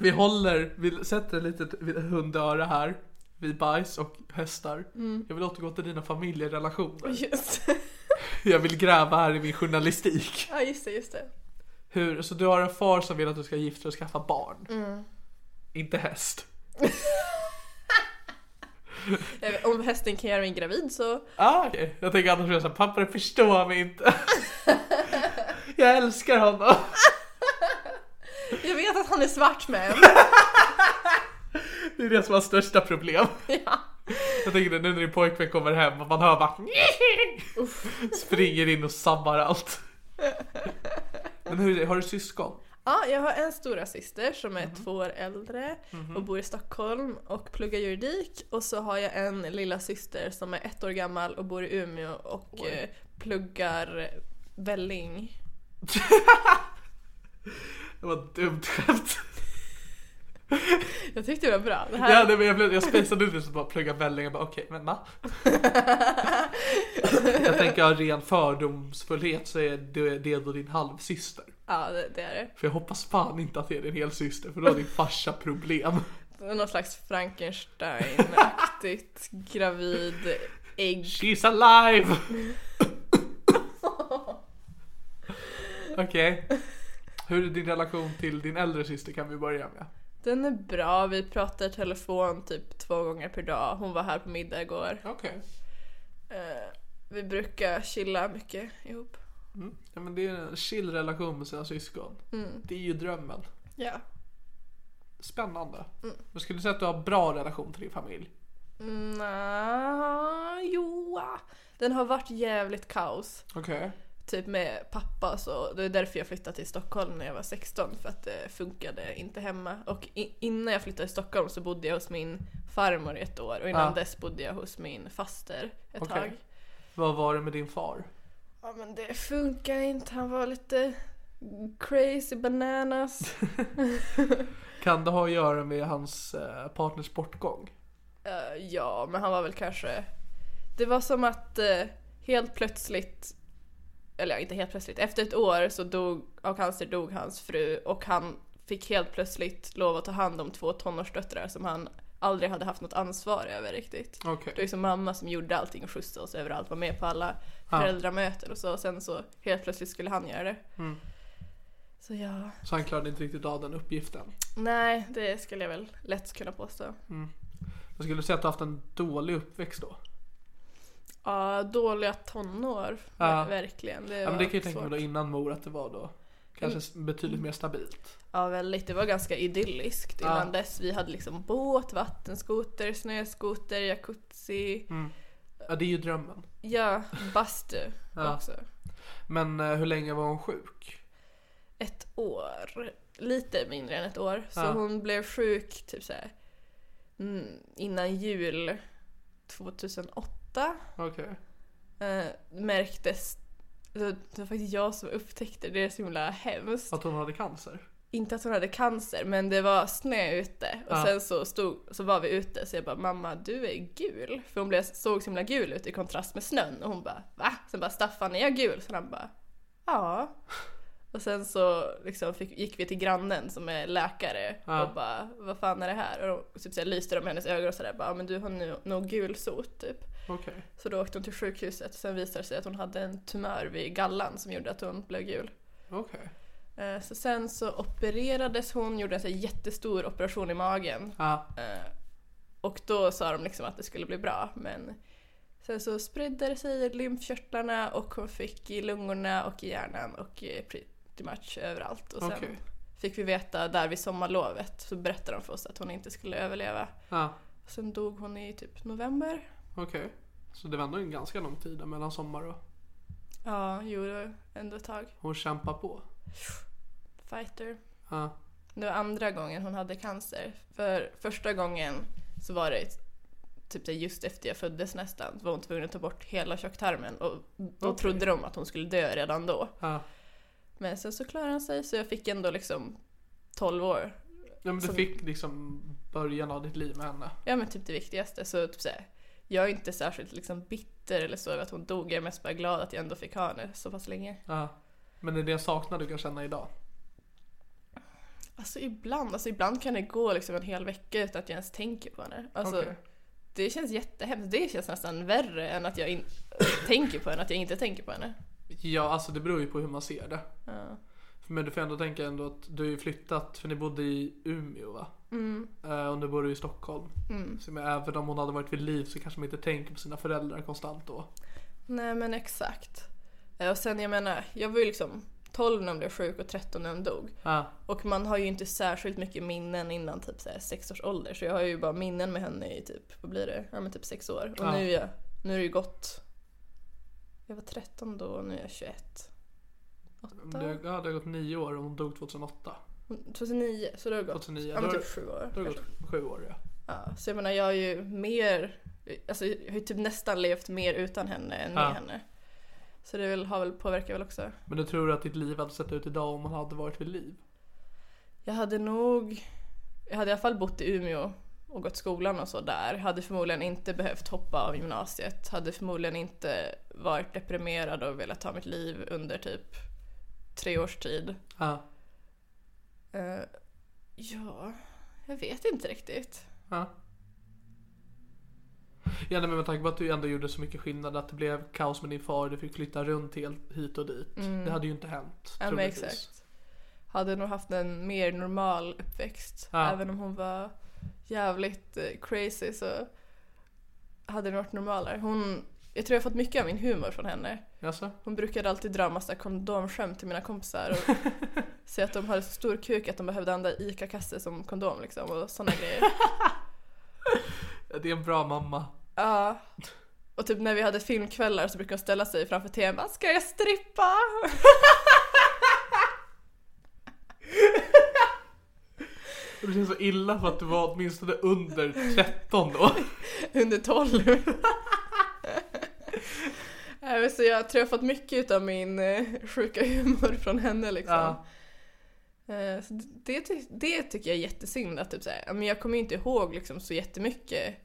C: Vi håller, vi sätter ett litet hundöra här. Vid bajs och hästar. Jag vill återgå till dina familjerelationer.
D: Just,
C: Jag vill gräva här i min journalistik.
D: ja, just det, just det.
C: Hur, så du har en far som vill att du ska gifta dig och skaffa barn. Inte häst.
D: Eh, Om hästen kan göra mig gravid
C: [laughs]
D: så
C: Ah, okej. Jag tänker annars blir jag pappa förstår mig inte. jag älskar honom.
D: Jag vet att han är svart men
C: Det är det som har största problem.
D: [laughs] ja.
C: Jag tänker det nu när din pojkvän kommer hem och man hör bara [laughs] Springer in och sabbar
D: [laughs]
C: allt. Men hur, har du syskon?
D: ja, jag har en stora syster som
C: Mhm.
D: är två år äldre och bor i Stockholm och pluggar juridik och så har jag en lilla syster som är ett år gammal och bor i Umeå och
C: Oj.
D: eh, pluggar välling.
C: Det var ett dumt skämt.
D: Jag tyckte det var bra. Det här...
C: Ja, nej, men jag, blev, jag spejsade ut det så bara plugga välling och bara okej, men
D: [laughs]
C: va? Jag tänker av ren fördomsfullhet så är det, det är då din halvsyster.
D: ja, det, det är det.
C: För jag hoppas fan inte att det är din helsyster för då har din farsa problem.
D: Det är Någon slags
C: [laughs]
D: Frankenstein-aktigt gravid ägg.
C: She's alive! Okej. Hur är din relation till din äldre syster kan vi börja med?
D: Den är bra, vi pratar i telefon typ två gånger per dag. Hon var här på middag igår.
C: Okej.
D: Eh, vi brukar chilla mycket ihop.
C: Mm. Ja, men det är en chill relation med sina syskon. Det är ju drömmen.
D: Ja.
C: Spännande. Men skulle du säga att du har bra relation till din familj?
D: Nja, joa. Mm, ah, Den har varit jävligt kaos.
C: Okej.
D: Typ med pappa och så. Det är därför jag flyttade till Stockholm när jag var 16 för att det funkade inte hemma. Och i- innan jag flyttade till Stockholm så bodde jag hos min farmor i ett år och innan
C: Ah.
D: dess bodde jag hos min faster ett
C: Okej.
D: tag.
C: Vad var det med din far?
D: Ja men det funkar inte, han var lite crazy bananas.
C: Kan det ha att göra med hans eh, partners bortgång?
D: Eh, ja, men han var väl kanske... Det var som att eh, helt plötsligt, eller ja, inte helt plötsligt, efter ett år så dog, av cancer dog hans fru och han fick helt plötsligt lov att ta hand om två tonårsdöttrar som han aldrig hade haft något ansvar över riktigt.
C: Okej.
D: Det var liksom mamma som gjorde allting och skjutsade oss överallt, var med på alla
C: Ja.
D: föräldramöten och så och sen så helt plötsligt skulle han göra det. Så ja,
C: Så han klarade inte riktigt av den uppgiften.
D: nej det skulle jag väl lätt kunna påstå.
C: Men skulle du säga att du har haft en dålig uppväxt då?
D: Ja, dåliga tonår.
C: Ja.
D: Verkligen. Det
C: Ja, Mm. men det kan jag
D: var
C: tänka mig
D: svårt.
C: då innan mor att det var då. Kanske s- betydligt mer stabilt.
D: Ja, väldigt. Det var ganska idylliskt innan
C: Ja.
D: dess. Vi hade liksom båt, vattenskoter, snöskoter, jacuzzi.
C: Ja, det är ju drömmen.
D: Ja, bastu
C: Ja.
D: också.
C: Men eh, hur länge var hon sjuk?
D: Ett år. Lite mindre än ett år. Så
C: Ja.
D: hon blev sjuk typ så här, mm, innan jul 2008.
C: Okej.
D: Eh, märktes... alltså, Det var faktiskt jag som upptäckte det. Det är så himla hemskt.
C: Att hon hade cancer?
D: inte att hon hade cancer men det var snö ute och
C: Ja.
D: sen så, stod, så var vi ute så jag bara mamma du är gul. För hon blev, såg så himla gul ut i kontrast med snön och hon bara va? Sen bara Staffan är jag gul? Så han bara ja. Och sen så liksom fick, gick vi till grannen som är läkare
C: Ja.
D: och bara vad fan är det här? Och de, typ så här, lyste de hennes ögon och sådär bara "Ja, men du har nu, nog gulsot typ.
C: Okej.
D: Så då åkte hon till sjukhuset och sen visade det sig att hon hade en tumör vid gallan som gjorde att hon blev gul.
C: Okej.
D: Eh, Så sen så opererades hon, gjorde en så här jättestor operation i magen.
C: Ja.
D: Eh, Och då sa de liksom att det skulle bli bra men sen så spridde det sig i lymfkörtlarna och hon fick i lungorna och i hjärnan och eh, pretty much överallt. Och sen
C: Okej.
D: fick vi veta där vid sommarlovet så berättade de för oss att hon inte skulle överleva.
C: Ja.
D: Sen dog hon i typ november.
C: Okej. Så det var ändå en ganska lång tid där mellan sommar och...
D: Ja, jo, det var ändå ett tag.
C: Hon kämpar på.
D: Fighter.
C: Ja.
D: Det var andra gången hon hade cancer. För första gången så var det typ så här just efter jag föddes nästan. Så var hon tvungen att ta bort hela tjocktarmen och då
C: Okej.
D: trodde de att hon skulle dö redan då.
C: Ja.
D: Men sen så klarade hon sig så jag fick ändå liksom 12 år.
C: ja men du
D: Som-
C: fick liksom början av ditt liv med henne.
D: Ja men typ det viktigaste. Så typ så här, jag är inte särskilt liksom bitter eller så över att hon dog. Jag är mest bara glad att jag ändå fick ha henne så pass länge.
C: Ja. Men är det en saknad du kan känna idag?
D: Alltså ibland, alltså ibland kan det gå liksom en hel vecka utan att jag ens tänker på henne. Alltså,
C: Okej.
D: Det känns jättehemskt. Det känns nästan värre än att jag in- [clears throat] tänker på henne, att jag inte tänker på henne.
C: Ja, alltså det beror ju på hur man ser det.
D: Ja.
C: Men du får ändå tänka ändå att du har ju flyttat, för ni bodde i Umeå va?
D: Mm.
C: Eh, Och nu bor du i Stockholm.
D: Mm.
C: Så men även om hon hade varit vid liv så kanske man inte tänker på sina föräldrar konstant då.
D: Nej men exakt. Eh, Och sen jag menar, jag var ju liksom 12 när hon blev sjuk och 13 när hon dog.
C: Ja,
D: Och man har ju inte särskilt mycket minnen innan typ så här, sex års ålder. Så jag har ju bara minnen med henne i typ, vad blir det? Ja men typ sex år. Och
C: Ja.
D: nu, är jag, nu är det ju gått... Jag var 13 då och nu är jag 21.
C: det,
D: Åtta?
C: har- ja, det har gått nio år och hon dog 2008.
D: 2009, så det har gått...
C: 2009,
D: Ja men
C: då-
D: typ sju år.
C: Det har
D: kanske.
C: gått sju år ja.
D: Ja, så jag menar jag har ju mer, alltså jag har ju typ nästan levt mer utan henne än med
C: Ja.
D: henne. Så det väl, har väl påverkat väl också.
C: Men du tror att ditt liv hade sett ut idag om hon hade varit vid liv?
D: Jag hade nog, jag hade i alla fall bott i Umeå och gått skolan och så där. Hade förmodligen inte behövt hoppa av gymnasiet. Hade förmodligen inte varit deprimerad och velat ta mitt liv under typ tre års tid.
C: Ja.
D: Eh, ja, jag vet inte riktigt.
C: Ja. Ja, nej, men med tanke på att du ändå gjorde så mycket skillnad att det blev kaos med din far, du fick flytta runt helt hit och dit. Det hade ju inte hänt.
D: Mm. Ja men
C: troligtvis.
D: exakt. Hade nog haft en mer normal uppväxt.
C: Ja.
D: Även om hon var jävligt eh, crazy så hade det varit normalare. Hon, jag tror jag har fått mycket av min humor från henne.
C: Jaså?
D: Hon brukade alltid dra massa kondomskämt till mina kompisar
C: [laughs]
D: och säga att de hade så stor kuk att de behövde använda ICA-kasse som kondom liksom och sådana
C: [laughs]
D: grejer.
C: Det är en bra mamma.
D: Ja. Och typ när vi hade filmkvällar så brukade hon ställa sig framför tvn bara “Ska
C: [laughs]
D: jag strippa?”
C: Det känns så illa för att du var åtminstone under 13
D: [laughs]
C: då.
D: under 12. [laughs] Nej, men så jag tror jag har fått mycket av min eh, sjuka humor från henne liksom.
C: Ja.
D: Eh, Så det, ty- det tycker jag är jättesynd att typ så här, ja, men jag kommer ju inte ihåg liksom så jättemycket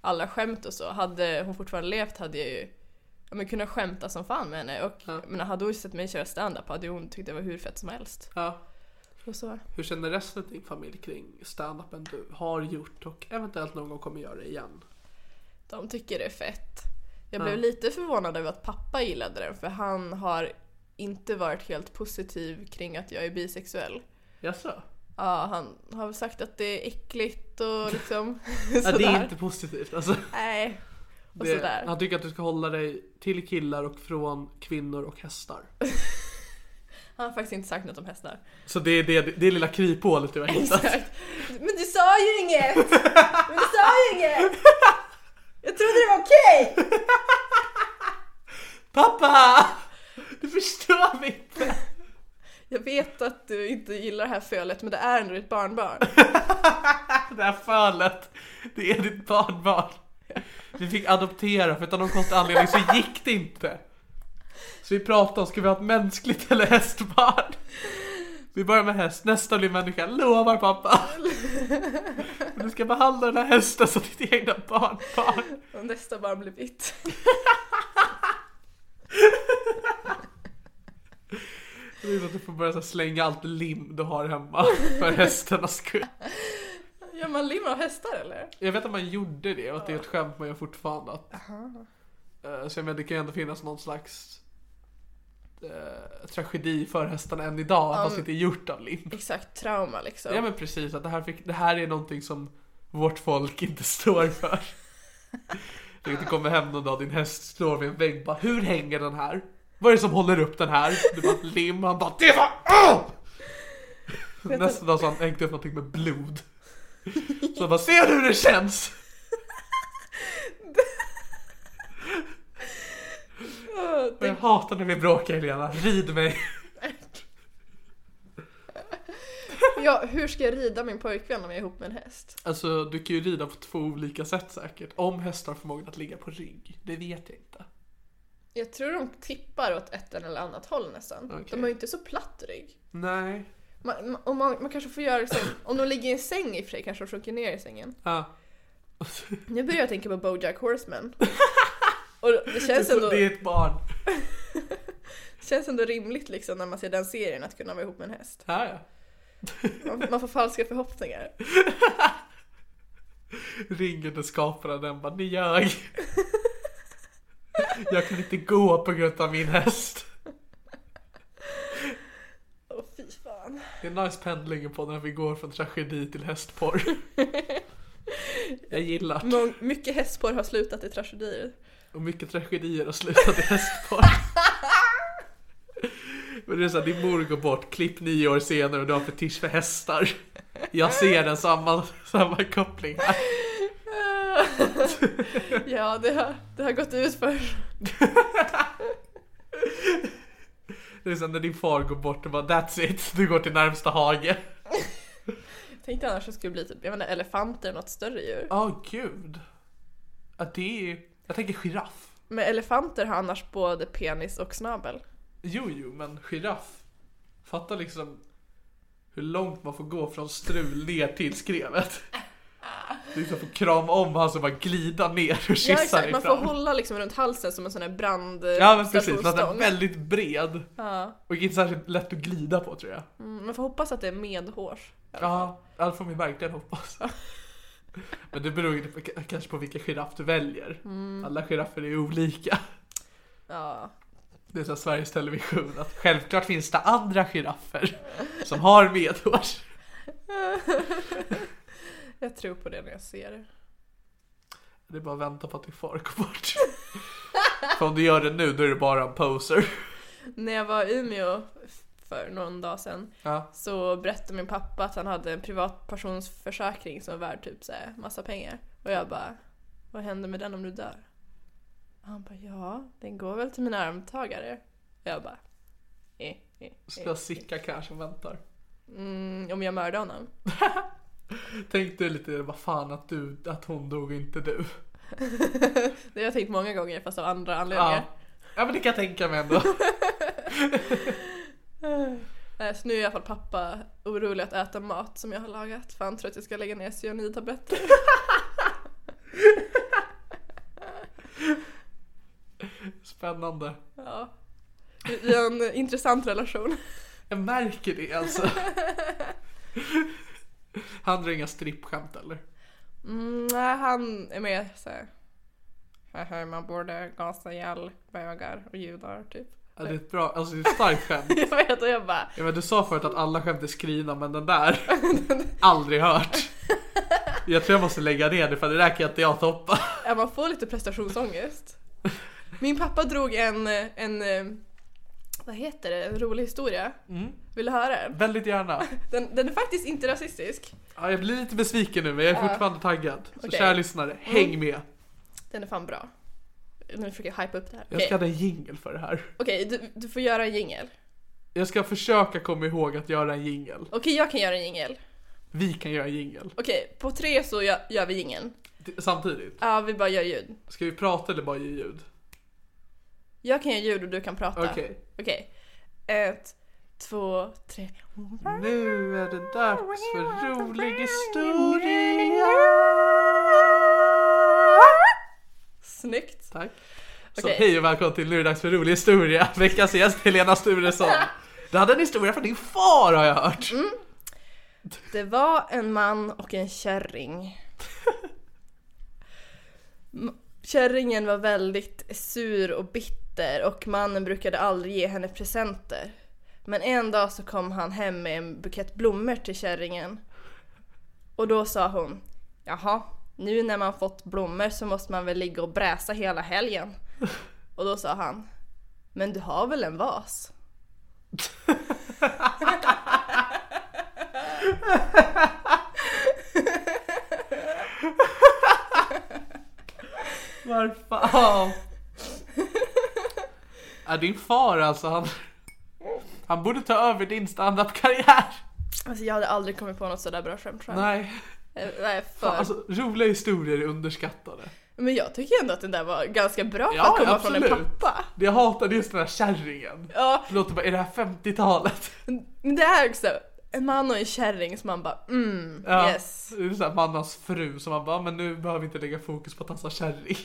D: alla skämt och så. Hade hon fortfarande levt hade jag ju ja, men kunnat skämta som fan med henne och
C: Ja.
D: men hade hon sett mig köra stand-up hade hon tyckt det var hur fett som helst.
C: Ja.
D: Och så.
C: Hur känner resten av din familj kring standupen du har gjort och eventuellt någon gång kommer göra igen?
D: De tycker det är fett. Jag
C: Ja.
D: blev lite förvånad över att pappa gillade den för han har inte varit helt positiv kring att jag är bisexuell.
C: Jaså?
D: Ja, han har väl sagt att det är
C: [laughs]
D: äckligt och liksom
C: Ja,
D: sådär.
C: det är inte positivt alltså.
D: Nej. Och
C: Det,
D: sådär.
C: han tycker att du ska hålla dig till killar och från kvinnor och hästar.
D: Han har faktiskt inte sagt något om
C: [laughs]
D: hästar.
C: Så det är det, det är lilla kryphålet du har hittat.
D: Exakt. Men du sa ju inget! Men du sa ju inget! Jag trodde det var okej!
C: Pappa! Du förstår mig inte!
D: Jag vet att du inte gillar det här fölet men det är ändå ditt barnbarn.
C: Det här fölet, det är ditt barnbarn. Vi fick adoptera för utan någon konstig anledning så gick det inte. Så vi pratade om, ska vi ha ett mänskligt eller hästbarn? Vi börjar med häst, nästa blir människa, lovar pappa. Men Du ska behandla den här hästen som ditt egna barnbarn.
D: Och nästa barn blir mitt.
C: Det är som att du får börja så här slänga allt lim du har hemma för hästarnas skull.
D: Gör man lim av hästar eller?
C: Jag vet att man gjorde det och att det är ett skämt man gör fortfarande. Att, Eh, så jag menar, det kan ju ändå finnas någon slags eh, tragedi för hästarna än idag, att
D: Ja,
C: fast
D: men-
C: inte är gjort av lim.
D: Exakt, trauma liksom.
C: Ja men precis, att det här, fick, det här är någonting som vårt folk inte [laughs] står för. Du inte kommer hem någon dag din häst slår vid en vägg och bara Hur hänger den här? Vad är det som håller upp den här? Du bara lim, han bara det var åh!" Nästa dag så har han hängt upp någonting med blod. Så han bara ser du hur det känns?
D: jag
C: Och jag
D: tänkte,
C: hatar när vi bråkar Helena, rid mig.
D: [laughs] ja, hur ska jag rida min pojkvän om jag är ihop med en häst?
C: Alltså du kan ju rida på två olika sätt säkert. Om hästar har förmågan att ligga på rygg. Det vet jag inte.
D: Jag tror de tippar åt ett eller annat håll nästan.
C: Okej.
D: De har ju inte så platt rygg.
C: Nej.
D: Man, man, och man, man kanske får göra liksom, om de ligger i en säng i och för sig kanske de sjunker ner i sängen.
C: Ja.
D: Nu börjar jag tänka på Bojack [laughs] Horseman. Och det känns
C: Det är så-
D: ändå,
C: det är ett barn.
D: känns ändå rimligt liksom när man ser den serien att kunna vara ihop med en häst.
C: Ja, ja.
D: Man, man får falska förhoppningar.
C: Ringande skaparen den bara, ni ljög. [laughs] Jag kan inte gå på grund av min häst.
D: Åh fy fan.
C: Det är nice pendling på när vi går från tragedi till hästporr. Jag gillar det.
D: Mång, mycket hästporr har slutat i tragedier.
C: Och mycket tragedier har slutat i hästporr. Men det är såhär, din mor går bort, klipp nio år senare och du har fetisch för hästar. Jag ser den samma, samma koppling här.
D: [laughs] ja, det har, det har gått ut för.
C: Det är såhär när din far går bort och bara that's it, du går till närmsta hage.
D: Jag tänkte annars att det skulle bli typ, jag menar elefanter eller något större djur.
C: Ja, gud. Ja, det är... Jag tänker giraff.
D: Men elefanter har annars både penis och snabel.
C: Jo, jo, men giraff. Fatta liksom hur långt man får gå från strul ner till skrevet. Liksom får krama om han så bara glida ner och kyssa
D: Ja exakt,
C: dig
D: man får
C: fram.
D: hålla liksom runt halsen som en sån här brand...
C: Ja men precis, för att den är
D: stationsstång.
C: väldigt bred.
D: Ja.
C: Och inte särskilt lätt att glida på tror jag.
D: Mm, Man får hoppas att det är medhårs.
C: Ja, ja, det får man ju verkligen hoppas. Men det beror ju k- kanske på vilka giraff du väljer.
D: Mm.
C: Alla giraffer är olika.
D: [laughs] Ja.
C: Det är så här Sveriges Television att självklart finns det andra giraffer som har medhårs.
D: Jag tror på det när jag ser det.
C: Det är bara att vänta på att din far går bort. För om du gör det nu då är du bara en poser.
D: När jag var i Umeå f- för någon dag sedan
C: Ja.
D: så berättade min pappa att han hade en privatpersonsförsäkring som var värd typ så här, massa pengar. Och jag bara, vad händer med den om du dör? Och han bara, ja, den går väl till mina armtagare. Och jag bara, eh, eh,
C: Så
D: eh.
C: jag Sicka kanske som väntar.
D: Mm, om jag mördar honom. [laughs]
C: Tänk du lite, vad fan att, du, att hon dog och inte du.
D: Det har jag tänkt många gånger fast av andra
C: Ja.
D: anledningar.
C: ja men det kan jag tänka mig ändå.
D: Eh, Så nu är i alla fall pappa orolig att äta mat som jag har lagat för han tror att jag ska lägga ner cyanidtabletter. [laughs]
C: Spännande.
D: Ja. Vi vi har en intressant relation.
C: Jag märker det alltså. Han drar inga strippskämt eller?
D: Mm, nej, han är mer såhär... Haha, man borde gasa ihjäl bögar och judar
C: [laughs]
D: typ.
C: Ja, det är ett bra, alltså det är ett starkt skämt.
D: Jag vet och jag bara...
C: Ja, men du sa förut att alla skämt är skrivna men den där, aldrig hört. Jag tror jag måste lägga ner det för det där kan inte jag toppa.
D: Ja, man får lite prestationsångest. Min pappa drog en, en... eh, Vad heter det? En rolig historia.
C: Mm.
D: Vill du höra den?
C: Väldigt gärna.
D: den? Den är faktiskt inte rasistisk.
C: Ja, jag blir lite besviken nu men jag är fortfarande taggad. Så
D: Okej. Mm.
C: kära lyssnare, häng med.
D: Den är fan bra. Nu försöker jag hypa upp det här.
C: Jag ska
D: Okej,
C: ha en jingle för det här.
D: Okej, du, du får göra en jingel.
C: Jag ska försöka komma ihåg att göra en jingle.
D: Okej, jag kan göra en jingel.
C: Vi kan göra en jingle.
D: Okej, på tre så gör, gör vi jingeln.
C: Samtidigt.
D: Ja, vi bara gör ljud.
C: Ska vi prata eller bara ge ljud?
D: Jag kan göra ljud och du kan prata.
C: Okej.
D: Okej. Ett, två, tre.
C: Nu är det dags för rolig historia!
D: Snyggt.
C: Tack. Så
D: Okej.
C: hej och välkommen till Nu är det dags för rolig historia. [laughs] Veckans gäst Helena Sturesson. Du hade en historia från din far har jag hört.
D: Det var en man och en kärring. M- Kärringen var väldigt sur och bitter och mannen brukade aldrig ge henne presenter. Men en dag så kom han hem med en bukett blommor till kärringen. Och då sa hon Jaha, nu när man fått blommor så måste man väl ligga och bräsa hela helgen. Och då sa han Men du har väl en vas?
C: [laughs] Varför? Ja, din far alltså, han, han borde ta över din standup-karriär.
D: Alltså jag hade aldrig kommit på något sådär bra skämt själv.
C: Nej,
D: Eh, Nej, för...
C: fan, alltså, roliga historier är underskattade.
D: Men jag tycker ändå att den där var ganska bra för
C: Ja,
D: att komma
C: absolut.
D: från en pappa.
C: Det jag hatade just den här kärringen.
D: Ja,
C: Det låter bara, är det här 50-talet?
D: men det är också en man och en kärring som man bara mm,
C: Ja,
D: yes.
C: Det är så här mannens fru som man bara, men nu behöver vi inte lägga fokus på att han sa
D: [laughs]
C: kärring.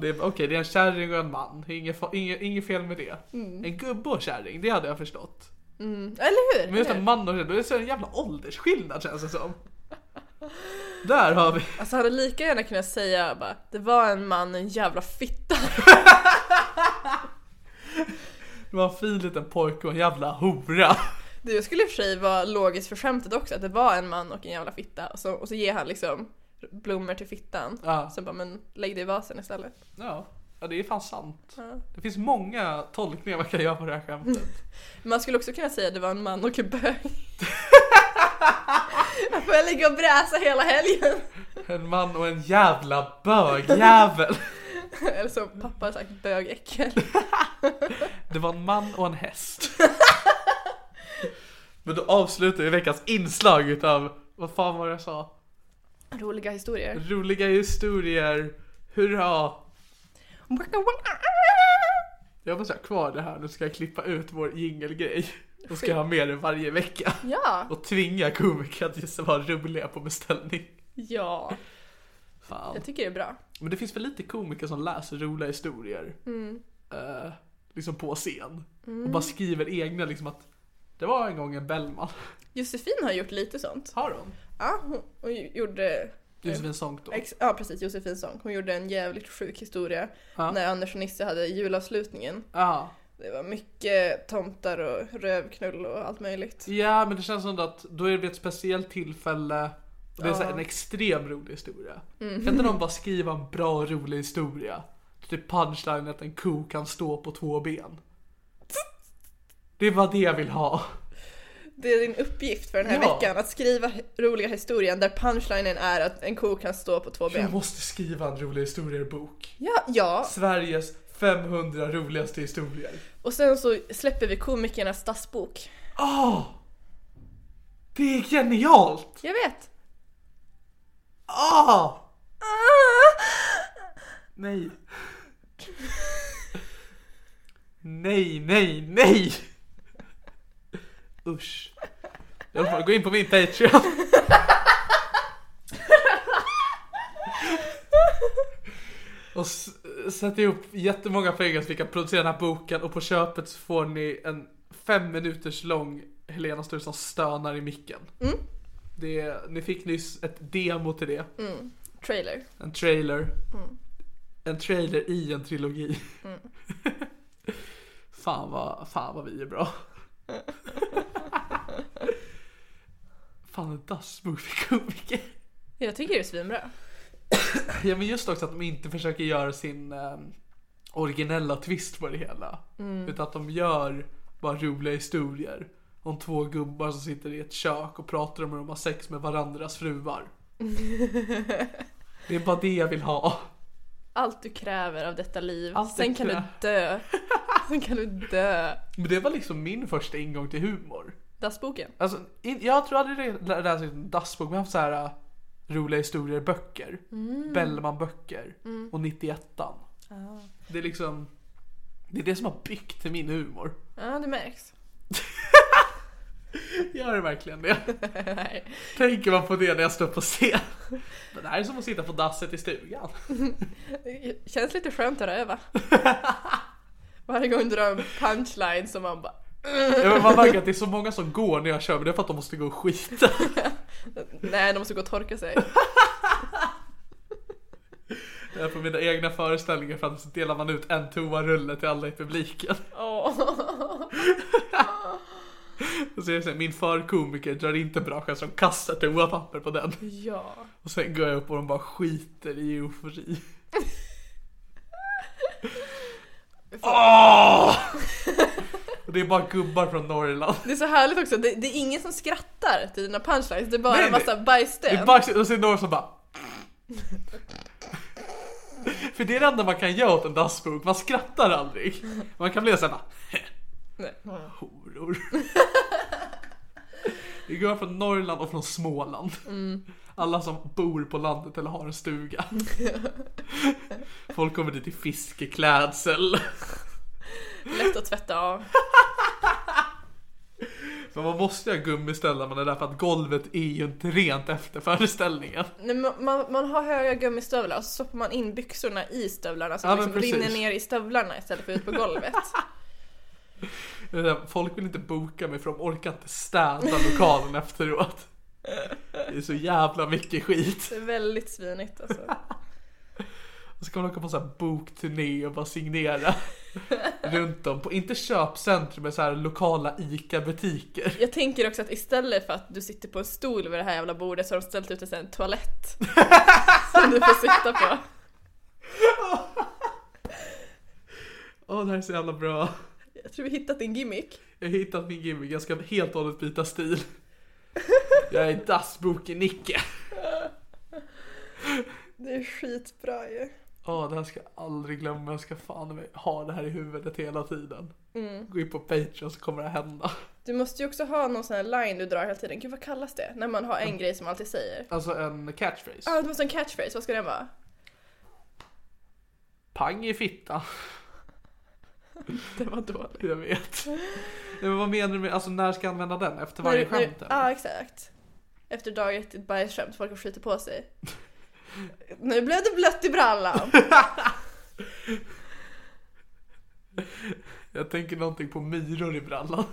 C: Det är bara, Okej, det är en kärring och en man. Inget, fa- inget, inget fel med det. En gubbe och kärring, det hade jag förstått.
D: Mm, Eller hur?
C: Men just
D: Eller
C: en
D: hur?
C: man och kärring, det är så en jävla åldersskillnad känns det som. Där har vi.
D: Alltså hade lika gärna kunnat säga bara det var en man och en jävla fitta. [laughs]
C: Det var en fin liten pojke och en jävla hora.
D: Det skulle i och för sig vara logiskt för skämtet också att det var en man och en jävla fitta och så, och så ger han liksom blommor till fittan.
C: Ja.
D: Så bara men lägg det i vasen istället.
C: Ja. ja, det är fan sant.
D: Ja.
C: Det finns många tolkningar man kan göra på det här skämtet.
D: Man skulle också kunna säga att det var en man och en bög. Jag får ligga och bräsa hela helgen.
C: En man och en jävla bögjävel.
D: Eller som pappa har sagt, bögäckel.
C: Det var en man och en häst. Men då avslutar vi veckans inslag utav, vad fan var det jag sa?
D: Roliga historier.
C: Roliga historier, hurra!
D: Waka waka.
C: Jag måste ha kvar det här, nu ska jag klippa ut vår jingelgrej. Och ska jag ha med det varje vecka.
D: Ja.
C: Och tvinga komiker att just vara roliga på beställning.
D: Ja,
C: Fan.
D: jag tycker det är bra.
C: Men det finns för lite komiker som läser roliga historier.
D: Mm.
C: Eh, liksom på scen. Och bara skriver egna liksom att det var en gång en Bellman.
D: Josefin har gjort lite sånt.
C: Har hon?
D: Ja, hon, hon gjorde...
C: Josefin Sonck då.
D: Eh, Ex, ja, precis. Josefins sång. Hon gjorde en jävligt sjuk historia
C: Ja.
D: när Anders och Nisse hade julavslutningen.
C: Ja.
D: Det var mycket tomtar och rövknull och allt möjligt.
C: Ja men det känns som att då är det ett speciellt tillfälle och det är så här
D: Ja.
C: en extrem rolig historia. Kan inte någon bara skriva en bra och rolig historia? Typ punchline att en ko kan stå på två ben. Det var det jag vill ha.
D: Det är din uppgift för den här
C: Ja.
D: veckan, att skriva roliga historien där punchlinen är att en ko kan stå på två
C: Jag
D: ben.
C: måste skriva en rolig historiebok.
D: Ja, ja.
C: Sveriges 500 roligaste historier.
D: Och sen så släpper vi komikernas stadsbok.
C: Åh! Ah! det är genialt!
D: Jag vet!
C: Ah!
D: Ah!
C: Nej. Nej, nej, nej! Usch. Jag får gå in på min Patreon. Och s- sätta ihop jättemånga pengar så vi kan producera den här boken och på köpet så får ni en fem minuters lång Helena Sturesson stönar i micken. Det, ni fick nyss ett demo till det.
D: Trailer.
C: En trailer. En trailer i en trilogi. [laughs] fan, vad, fan vad vi är bra. fan en dassmovie-komiker.
D: Jag tycker det är svinbra.
C: Ja men just också att de inte försöker göra sin eh, originella twist på det hela. Utan att de gör bara roliga historier. Om två gubbar som sitter i ett kök och pratar om hur de har sex med varandras fruar. det är bara det jag vill ha.
D: Allt du kräver av detta liv,
C: Allt
D: sen
C: jag
D: kan du
C: krä-
D: dö. Sen kan du dö.
C: Men det var liksom min första ingång till humor.
D: Dassboken.
C: Alltså, in, jag tror aldrig jag lä- läst en dassbok, men jag har haft så här äh, roliga historier böcker. Bellman böcker. Och 91 Det är liksom, det är det som har byggt till min humor. [laughs]
D: Ja, det märks. [laughs]
C: Gör det verkligen det?
D: Nej.
C: Tänker man på det när jag står på scen? [laughs] Men Det här är som att sitta på dasset i stugan.
D: Det känns lite skönt att [laughs] öva. Varje gång du drar en punchline som man bara
C: Ja, men Man märker att det är så många som går när jag kör, men det är för att de måste gå och skita. [laughs]
D: Nej, de måste gå och torka [laughs] sig.
C: Det är På mina egna föreställningar för att så delar man ut en toarulle till alla i publiken.
D: Åh.
C: Och så är det så här, min förkomiker drar inte bra skämt som kastar toapapper på den.
D: Ja.
C: Och sen går jag upp och de bara skiter i eufori. Åh! Och det är bara gubbar från Norrland.
D: Det är så härligt också, det, det är ingen som skrattar till dina punchlines, det är bara
C: Nej,
D: en
C: nej.
D: massa
C: Det är
D: bajssten.
C: bara, och så är det några som bara... För det är det enda man kan göra åt en dassbok, man skrattar aldrig. Man kan bli såhär bara,
D: Nej.
C: horor. [laughs] Vi går från Norrland och från Småland. Alla som bor på landet eller har en stuga. Folk kommer dit i fiskeklädsel.
D: Lätt att tvätta av.
C: Men man måste ju ha gummiställ när man är där för att golvet är ju inte rent efter föreställningen.
D: Nej, men man, man har höga gummistövlar och så stoppar man in byxorna i stövlarna så
C: Ja,
D: de
C: men
D: liksom rinner
C: precis.
D: ner i stövlarna istället för ut på golvet.
C: Det är där, Folk vill inte boka mig för de orkar inte städa lokalen efteråt. Det är så jävla mycket skit.
D: Det är väldigt svinigt alltså.
C: Och så kan man åka på så här bokturné och bara [laughs] signera runt om. På, inte köpcentrum men så här lokala ICA-butiker.
D: Jag tänker också att istället för att du sitter på en stol vid det här jävla bordet så har de ställt ut en sån här
C: [laughs]
D: toalett. som du får sitta på.
C: Åh det här är så jävla bra.
D: Jag tror vi hittat din gimmick.
C: Jag har hittat min gimmick, jag ska helt och hållet byta stil. Jag är dassboken-Nicke.
D: Det är skitbra ju.
C: [laughs] Åh, det här ska jag aldrig glömma. Jag ska fan i mig ha det här i huvudet hela tiden.
D: Mm.
C: Gå in på Patreon så kommer det hända.
D: Du måste ju också ha någon sån här line du drar hela tiden. Gud vad kallas det? När man har en grej som man alltid säger.
C: Alltså en catchphrase.
D: Ja, ah, du måste ha en catchphrase. Vad ska den vara?
C: Pang i fitta.
D: Det var dåligt.
C: Jag vet. Nej, men vad menar du med, alltså när ska jag använda den? Efter varje
D: När du- när du-
C: skämt? eller?
D: Ja, exakt. Efter dag ett ett bajsskämt, folk har skitit på sig. nu blev det blött i brallan!
C: Jag tänker någonting på myror i brallan.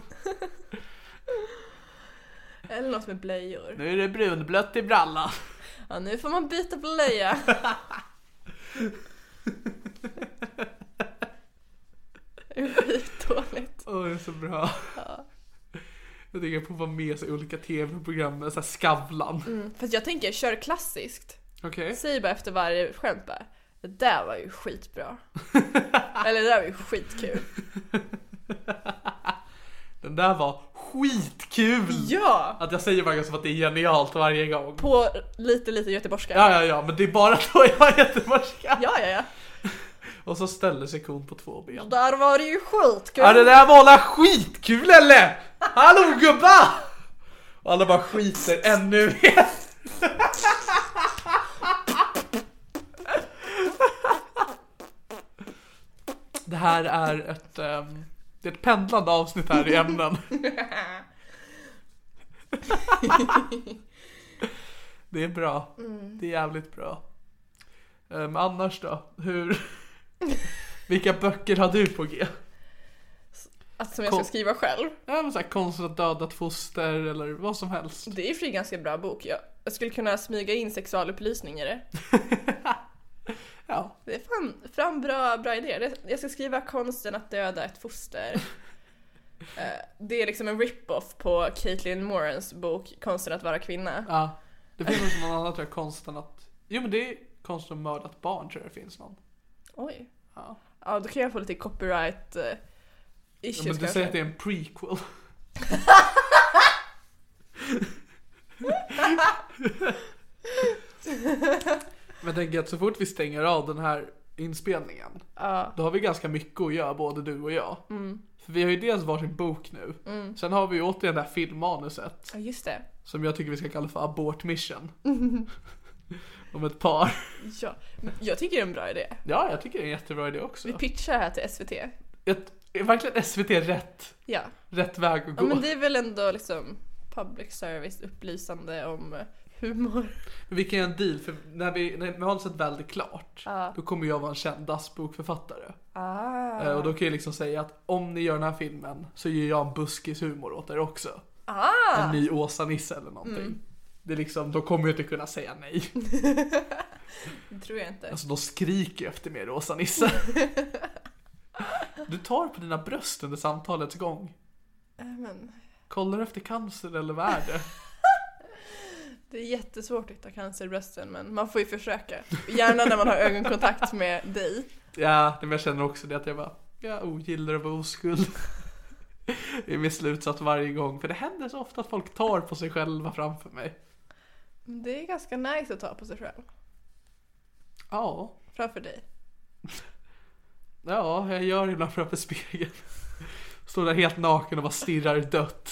D: Eller något med blöjor.
C: Nu är det brunblött i brallan.
D: Ja, nu får man byta blöja. Det är Skitdåligt.
C: Åh, det är så bra. Jag tänker på att vara med sig i olika tv-program med såhär Skavlan.
D: Mm, Fast jag tänker, kör klassiskt.
C: Okej.
D: Säg bara efter varje skämt bara, det där var
C: [laughs]
D: ju skitbra. Eller det där var ju skitkul.
C: Den där var skitkul!
D: Ja!
C: Att jag säger verkligen som att det är genialt varje gång.
D: På lite, lite göteborgska.
C: Ja, ja, ja, men det är bara då jag är göteborgska.
D: ja, ja. ja.
C: Och så ställer sig kon på två ben.
D: Där var det ju skitkul!
C: Ja det där var alla skitkul eller? Hallå gubbar! Och alla bara skiter ännu mer. Det här är ett, ehm, det är ett pendlande avsnitt här i ämnen. Det är bra. Det är jävligt bra. Um, annars då? Hur? Vilka böcker har du på G?
D: Att som jag ska
C: Kom.
D: skriva själv.
C: Ja, men så här, konsten att döda ett foster eller vad som helst.
D: Det är ju för en ganska bra bok. Jag, jag skulle kunna smyga in sexualupplysning i det.
C: Ja.
D: Det är fan, fan bra, bra idéer. Det- Jag ska skriva konsten att döda ett foster.
C: [laughs]
D: Eh, Det är liksom en rip-off på Caitlin Morans bok Konsten att vara kvinna.
C: ja. Det finns också någon annan tror jag, konsten att... Jo men det är konsten att mörda ett barn tror jag det finns någon.
D: Oj.
C: Ja.
D: Ja, då kan jag få lite copyright eh,
C: Ja,
D: issues
C: men du
D: kanske.
C: säger att det är en prequel. [laughs] men jag tänker att så fort vi stänger av den här inspelningen.
D: Ja.
C: Då har vi ganska mycket att göra både du och jag. För vi har ju dels varsin bok nu. Sen har vi ju återigen det här filmmanuset.
D: Ja, just det.
C: Som jag tycker vi ska kalla för abort
D: [laughs]
C: mission. [laughs] Om ett par.
D: Ja. Men Jag tycker det är en bra idé.
C: Ja, jag tycker det är en jättebra idé också.
D: Vi pitchar här till SVT.
C: Ett, är verkligen SVT rätt,
D: Ja.
C: rätt väg att
D: ja
C: gå?
D: men det är väl ändå liksom public service upplysande om eh, humor.
C: Vi kan göra en deal, för när vi, när manuset väl är klart, då kommer jag vara en känd dassbokförfattare.
D: Ah.
C: Eh, Och då kan jag liksom säga att om ni gör den här filmen så gör jag en buskis humor åt er också.
D: Ah!
C: En ny Åsa-Nisse eller någonting.
D: Mm.
C: Det är liksom, då kommer jag inte kunna säga nej.
D: [laughs] Det tror jag inte.
C: Alltså de skriker efter mig Åsa-Nisse. Du tar på dina bröst under samtalets gång.
D: Äh, Men
C: Kollar du efter cancer eller vad är det?
D: det är jättesvårt att hitta cancer i brösten men man får ju försöka. Gärna när man har ögonkontakt med dig.
C: Ja, men jag känner också det att jag bara, jag ogillar att vara oskuld. [laughs] Det är min slutsats varje gång, för det händer så ofta att folk tar på sig själva framför mig.
D: Men Det är ganska nice att ta på sig själv.
C: Ja,
D: Framför dig.
C: Ja, jag gör det ibland framför spegeln. Står där helt naken och bara stirrar dött.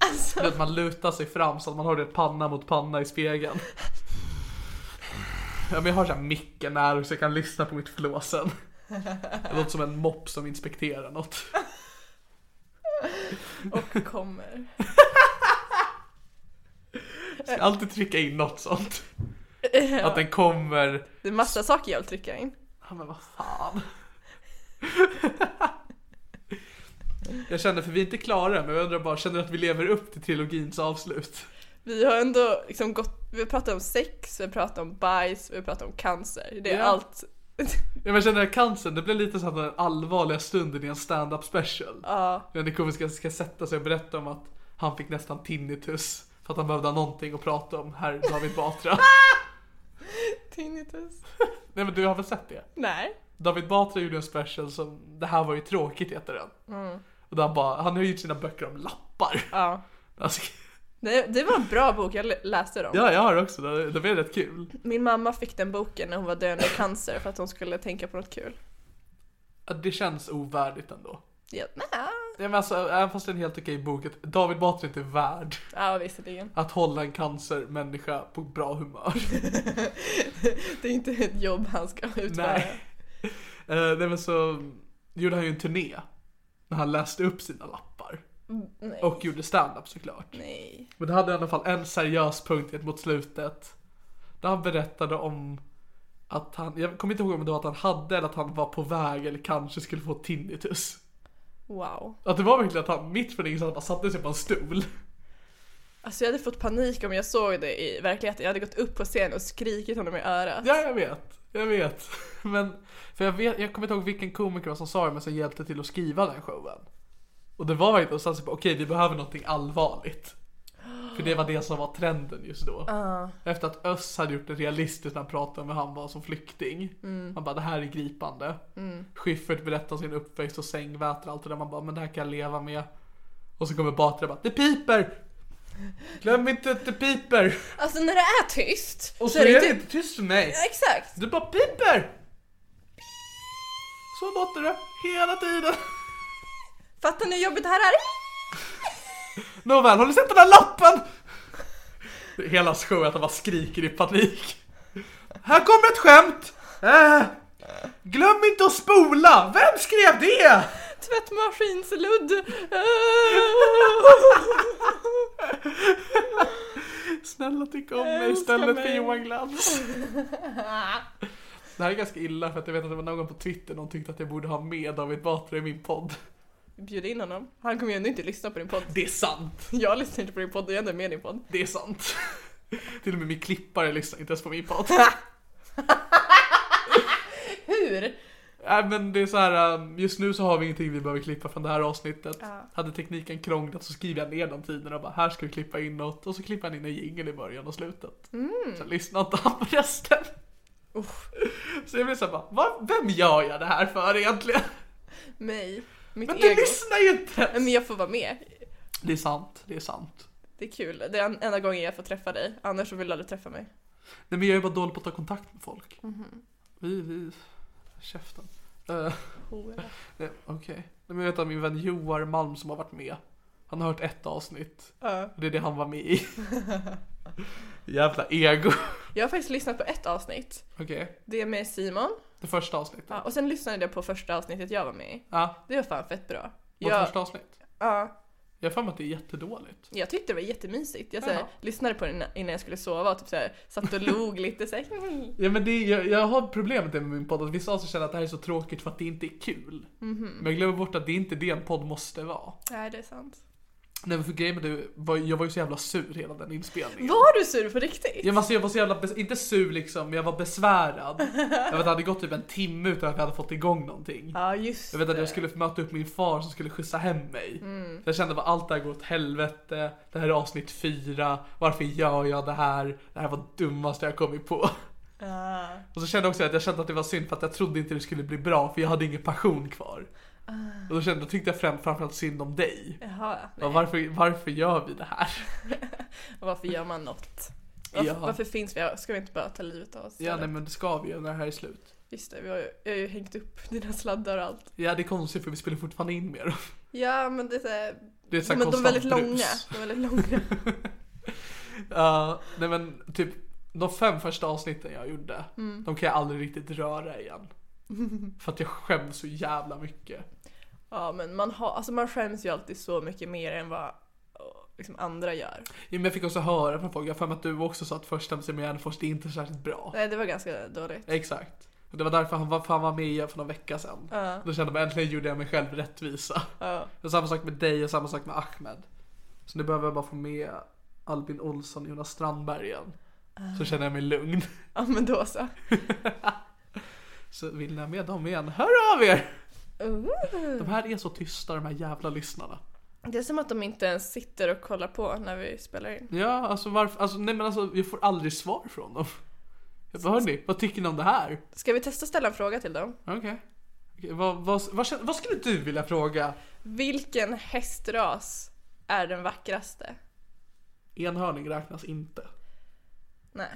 C: Du
D: Alltså,
C: vet, man lutar sig fram så att man har det panna mot panna i spegeln. Ja, men jag har så här micken nära så jag kan lyssna på mitt flåsen. Det låter som en mopp som inspekterar något.
D: och kommer.
C: Jag ska alltid trycka in något sånt. [laughs] Att den kommer...
D: Det är massa saker jag vill trycka in.
C: Ja, men vad fan. Jag känner, för vi är inte klara men jag undrar bara, känner du att vi lever upp till trilogins avslut?
D: Vi har ändå liksom gått, vi har pratat om sex, vi har pratat om bajs, vi har pratat om cancer. Det är
C: Ja.
D: allt.
C: Ja, men Jag känner att cancern, det blev lite som den allvarliga stunden i en stand-up special.
D: Ja,
C: När Nick ska, ska sätta sig och berätta om att han fick nästan tinnitus för att han behövde ha någonting att prata om, herr David
D: [laughs]
C: Batra.
D: tinnitus.
C: Nej men du har väl sett det?
D: Nej.
C: David Batra gjorde en special som, det här var ju tråkigt heter den. Och där han bara, han har ju gjort sina böcker om lappar.
D: Mm. Ja.
C: [laughs] Alltså,
D: Det, det var en bra bok, jag lä- läste dem.
C: ja jag har också, det, det blev rätt kul.
D: Min mamma fick den boken när hon var döende i cancer för att hon skulle tänka på något kul.
C: Ja, Det känns ovärdigt ändå.
D: Ja, nä.
C: Ja, men alltså, även fast det är en helt okej bok, att David Batra är inte värd
D: ja visserligen.
C: att hålla en cancermänniska på bra humör.
D: [laughs] Det är inte ett jobb han ska utföra.
C: Nej. [laughs] Eh, nej men så gjorde han ju en turné. När han läste upp sina lappar.
D: Mm, nej.
C: Och gjorde stand-up såklart.
D: Nej.
C: Men det hade i alla fall en seriös punkt mot slutet. Där han berättade om att han, jag kommer inte ihåg om det var att han hade eller att han var på väg eller kanske skulle få tinnitus.
D: Wow.
C: Att det var verkligen att han mitt från ingenstans bara satte sig på en stol.
D: Alltså jag hade fått panik om jag såg det i verkligheten. Jag hade gått upp på scen och skrikit honom i örat.
C: Ja, jag vet. Jag vet. [laughs] Men, för jag, vet, jag kommer inte ihåg vilken komiker det var som sa det men som hjälpte till att skriva den showen. Och det var verkligen någonstans på, okej vi behöver någonting allvarligt. För det var det som var trenden just då. Efter att Öss hade gjort det realistiskt när han pratade om hur han var som flykting.
D: Mm.
C: Han bara, det här är gripande. Schyffert berättar sin uppväxt och sängväter och allt det där. Man bara, men det här kan jag leva med. Och så kommer Batra och bara, det piper! Glöm inte att det piper!
D: Alltså när det är tyst
C: Och så,
D: är
C: är
D: det typ-
C: det inte tyst för mig!
D: Ja, Exakt!
C: Du bara piper! Så låter det hela tiden.
D: Fattar ni hur jobbigt det här är?
C: Nåväl, har ni sett den här lappen? Det är Hela showen att han bara skriker i panik. Här kommer ett skämt! Äh, glöm inte att spola! Vem skrev det?
D: Tvättmaskinsludd!
C: Snälla tyck om mig
D: Älska
C: istället för
D: mig.
C: Johan Glans. Det här är ganska illa för att jag vet att det var någon på Twitter som tyckte att jag borde ha med David Batra i min podd.
D: [laughs] Bjud in honom. Han kommer ju ändå inte lyssna på din podd. [laughs]
C: Det är sant.
D: Jag lyssnar inte på din podd och jag är inte med i din podd.
C: Det är sant. [laughs] Till och med min klippare lyssnar inte ens på min
D: [laughs]
C: podd.
D: Hur?
C: Nej men det är så här, um, just nu så har vi ingenting vi behöver klippa från det här avsnittet. Hade tekniken krånglat så skriver jag ner de tiderna och bara här ska vi klippa in något. Och så klipper han in en jingel i början och slutet.
D: Mm.
C: Sen lyssnar inte han på resten. [laughs] Så jag blir såhär bara, "Va? vem gör jag det här för egentligen?
D: Mig?
C: [laughs]
D: Mitt
C: Men du
D: ego?
C: lyssnar ju inte!
D: Nej, Men jag får vara med.
C: Det är sant, det är sant.
D: Det är kul. Det är en- enda gången jag får träffa dig. Annars så vill du aldrig träffa mig.
C: Nej men jag är bara dålig på att ta kontakt med folk.
D: Mhm.
C: Vi, vi, käften. Eh,
D: Hora.
C: nej, Okej. Nej, men Jag vet att min vän Joar Malm som har varit med, han har hört ett avsnitt.
D: Ja.
C: Det är det han var med i. [laughs] Jävla ego.
D: Jag har faktiskt lyssnat på ett avsnitt.
C: Okej,
D: Det är med Simon.
C: det första avsnittet.
D: Ja,
C: Ja,
D: och sen lyssnade jag på första avsnittet jag var med i. Det var fan fett bra.
C: vårt
D: Jag,
C: första avsnitt.
D: ja,
C: Jag har för mig att det är jättedåligt.
D: jag tyckte det var jättemysigt. Jag så
C: Jaha.
D: här, lyssnade på det innan- innan jag skulle sova och typ så här, satt och log [laughs] lite så här, "Mm."
C: Ja men det är, jag, jag har problem med det med min podd, att vissa avsnitt känner att det här är så tråkigt för att det inte är kul.
D: Mhm.
C: Men jag glömmer bort att det är inte det en podd måste vara.
D: Nej, det är sant.
C: Nej men för grejen med det, var, jag var ju så jävla sur hela den inspelningen.
D: Var du sur på riktigt?
C: Jag, alltså, jag var så jävla, bes- inte sur liksom, men jag var besvärad. Jag vet att det hade gått typ en timme utan att jag hade fått igång någonting.
D: Ja, just
C: Jag vet att
D: det. Mm.
C: jag skulle möta upp min far som skulle skjutsa hem mig. Så jag kände att allt det här går åt helvete, det här är avsnitt fyra, varför gör jag det här? Det här var det dummaste jag kommit på. [laughs]
D: Ah.
C: Och så kände jag också att jag kände att det var synd för att jag trodde inte det skulle bli bra för jag hade ingen passion kvar. Och då, kände, då tyckte jag främst, framförallt synd om dig.
D: Ah. Jaha,
C: Ja, varför, varför gör vi det här?
D: och [laughs] varför gör man något? Varför,
C: Ja.
D: varför finns vi här? Ska vi inte bara ta livet av oss?
C: Ja
D: eller?
C: nej men det ska vi ju när det här är slut.
D: Just det, vi har ju, jag har ju hängt upp dina sladdar och allt.
C: Ja, det är konstigt för vi spelar fortfarande in mer.
D: Ja, men det är så här,
C: Det är så här
D: Men de är
C: konstant
D: väldigt långa.
C: brus.
D: De är väldigt
C: [laughs]
D: långa.
C: Ja, nej men typ de fem första avsnitten jag gjorde,
D: Mm.
C: de kan jag aldrig riktigt röra
D: [laughs]
C: igen. För att jag skäms så jävla mycket.
D: Ja, men man, har, alltså man skäms ju alltid så mycket mer än vad och, liksom, andra gör.
C: Ja, men jag fick också höra från folk, jag har för mig att du också sa att första MC med Gärdenfors, det är inte särskilt bra.
D: Nej, det var ganska dåligt.
C: Exakt. Och det var därför han var, för han var med igen för någon vecka sedan.
D: Ja.
C: Då kände man äntligen gjorde jag mig själv rättvisa.
D: Ja.
C: Och samma sak med dig och samma sak med Ahmed. Så nu behöver jag bara få med Albin Olsson och Jonas Strandberg igen.
D: Ah.
C: Så känner jag mig lugn.
D: ja, men då så.
C: Så vill ni ha med dem igen, hör av er!
D: Ooh.
C: De här är så tysta de här jävla lyssnarna.
D: Det är som att de inte ens sitter och kollar på när vi spelar in.
C: Ja, alltså varför, alltså nej men alltså jag får aldrig svar från dem. Jag bara, hörni, vad tycker ni om det här?
D: Ska vi testa att ställa en fråga till dem?
C: Okej. Okej, vad, vad, vad, känner- vad skulle du vilja fråga?
D: Vilken hästras är den vackraste?
C: Enhörning räknas inte.
D: Nej.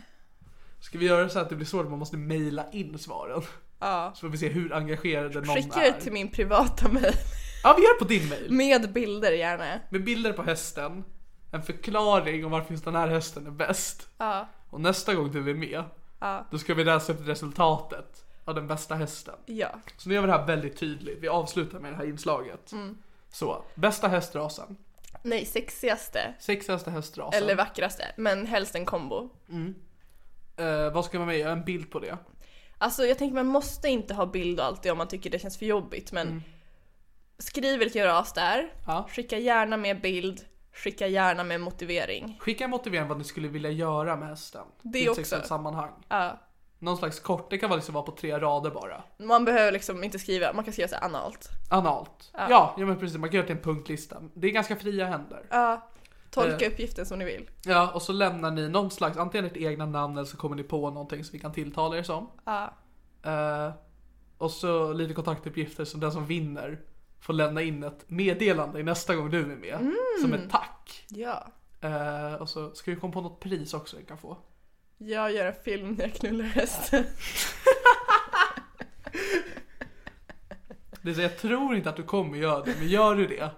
C: Ska vi göra så att det blir så att man måste mejla in svaren?
D: Ja.
C: Så får vi se hur engagerade någon
D: Skicka
C: är.
D: det till min privata [laughs] mejl.
C: Ja, vi gör på din mejl.
D: Med bilder gärna.
C: Med bilder på hästen, en förklaring om varför just den här hästen är bäst.
D: Ja.
C: Och nästa gång du är med,
D: Ja.
C: då ska vi läsa upp resultatet av den bästa hästen.
D: Ja.
C: Så nu gör vi det här väldigt tydligt. Vi avslutar med det här inslaget.
D: Mm.
C: Så, bästa hästrasen.
D: Nej,
C: Alltså.
D: sexigaste.
C: Sexigaste hästrasen.
D: Eller vackraste. Men helst en kombo.
C: eh, vad ska man med? Göra en bild på det.
D: Alltså jag tänker man måste inte ha bild och allt det om man tycker det känns för jobbigt men skriv vilken ras det är,
C: Mm. Ja.
D: skicka gärna med bild, skicka gärna med motivering.
C: Skicka en motivering vad ni skulle vilja göra med hästen.
D: Det
C: I ett
D: också.
C: sexuellt sammanhang.
D: Ja.
C: Någon slags kort, det kan vara liksom vara på tre rader bara.
D: Man behöver liksom inte skriva, man kan skriva så här analt.
C: Analt. Ja, ja men precis. Man kan göra det till en punktlista. Det är ganska fria händer.
D: Ja. Tolka
C: Eh.
D: uppgiften som ni vill.
C: Ja, och så lämnar ni någon slags, antingen ert egna namn eller så kommer ni på någonting som vi kan tilltala er som.
D: Ja.
C: Eh, och så lite kontaktuppgifter som den som vinner får lämna in ett meddelande i nästa gång du är med. Som ett tack.
D: Ja.
C: Eh, och så ska vi komma på något pris också vi kan få.
D: Jag gör en film när jag knullar hästen.
C: Det är så, jag tror inte att du kommer göra det, men gör du det,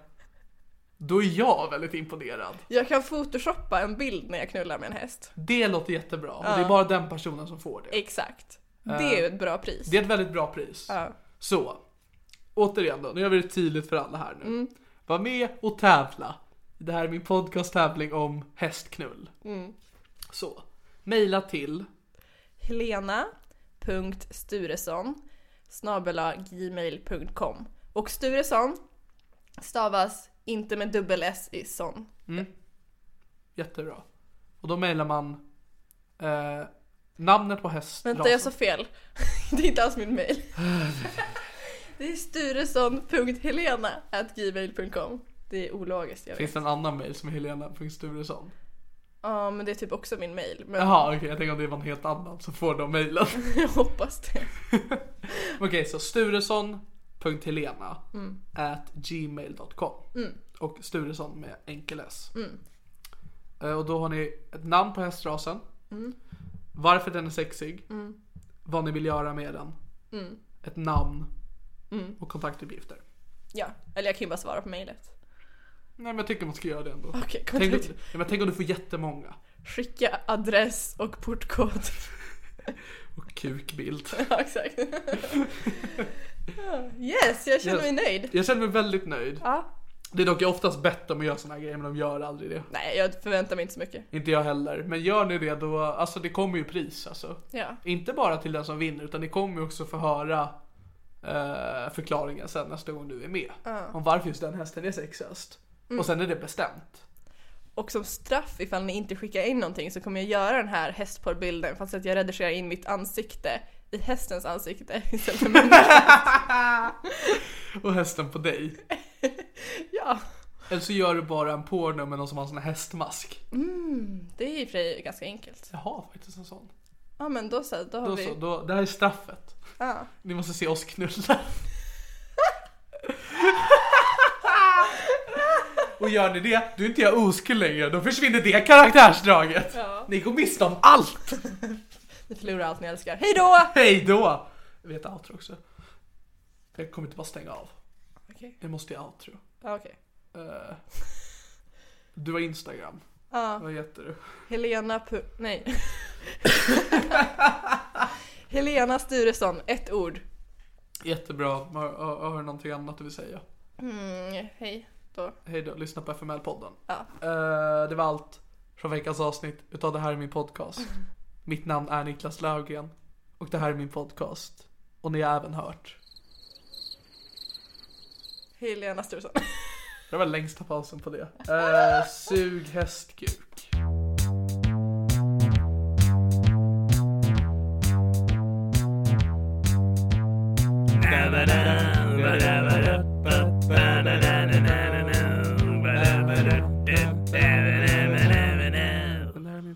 C: då är jag väldigt imponerad.
D: [laughs] Jag kan photoshoppa en bild när jag knullar med en häst.
C: Det låter jättebra och det är bara den personen som får det.
D: Exakt. Det är ju ett bra pris.
C: Eh. Det är ett väldigt bra pris.
D: Ja.
C: Så, återigen då, nu gör vi det tydligt för alla här nu.
D: Mm.
C: Var med och tävla. Det här är min podcast-tävling om hästknull.
D: Mm.
C: Så, mejla till
D: helena.sturesson gmail.com och Sturesson stavas inte med dubbel s i son.
C: Jättebra. Och då mejlar man eh, namnet på hästrasen.
D: Vänta jag sa fel. [laughs] Det är inte alls
C: [laughs]
D: min mail. Det är sturesson.helena gmail.com. Det är ologiskt jag vet.
C: Finns det en annan mejl som är helena.sturesson?
D: Ja men det är typ också min mail. Men
C: Jaha okej, jag tänkte om det var en helt annan så får de mejlen.
D: jag hoppas det.
C: okej så sturesson.helena at gmail.com och Sturesson med enkel s. Eh, Och då har ni ett namn på hästrasen. Varför den är sexig. Vad ni vill göra med den. Ett namn. Och kontaktuppgifter.
D: Ja, eller jag kan ju bara svara på mailet.
C: Nej men jag tycker man ska göra det ändå.
D: Okej,
C: Tänk, om-
D: kontakt.
C: ja, men tänk om du får jättemånga.
D: Skicka adress och portkod. [laughs]
C: Och kukbild.
D: Ja, exakt. Ja, yes, jag känner mig nöjd.
C: Jag känner mig väldigt nöjd.
D: Ja.
C: Det är dock jag oftast bett om att göra såna här grejer men de gör aldrig det.
D: Nej, jag förväntar mig inte så mycket.
C: Inte jag heller. Men gör ni det då, alltså det kommer ju pris alltså.
D: Ja.
C: Inte bara till den som vinner utan ni kommer ju också få höra eh, förklaringen sen nästa gång du är med. Om varför just den hästen är sexigast. Och sen är det bestämt.
D: Och som straff ifall ni inte skickar in någonting så kommer jag göra den här hästporrbilden fast att jag redigerar in mitt ansikte i hästens ansikte [laughs] istället för människans.
C: Och hästen på dig.
D: Ja,
C: Eller så gör du bara en porno med någon som har en sån här hästmask.
D: Mm, det är i och för sig ganska enkelt.
C: Jag har faktiskt en sån.
D: Ja, men då så, då har
C: Då
D: vi...
C: så, då, det här är straffet.
D: Ja.
C: Ni måste se oss knulla. Och gör ni det, då är inte jag oskuld längre. Då försvinner det karaktärsdraget. Ni går miste om allt.
D: Ni förlorar allt ni älskar. Hej då!
C: Hej då! Vi har ett outro också. Jag kommer inte bara stänga av.
D: Okej.
C: Jag måste i outro.
D: Ja, okej.
C: Eh, du har Instagram.
D: Ja,
C: Vad heter du?
D: Helena pu- Nej. [laughs] Helena Sturesson, ett ord.
C: Jättebra. Har, har, har du någonting annat du vill säga?
D: Mm, hej då.
C: Hej då, lyssna på FML-podden.
D: Ja.
C: Eh, det var allt från veckans avsnitt utav Det här är min podcast. Mitt namn är Niklas Löfgren och det här är min podcast. Och ni har även hört.
D: Helena Sturesson.
C: Det var längsta pausen på det. Eh, sug hästkuk. Det här är min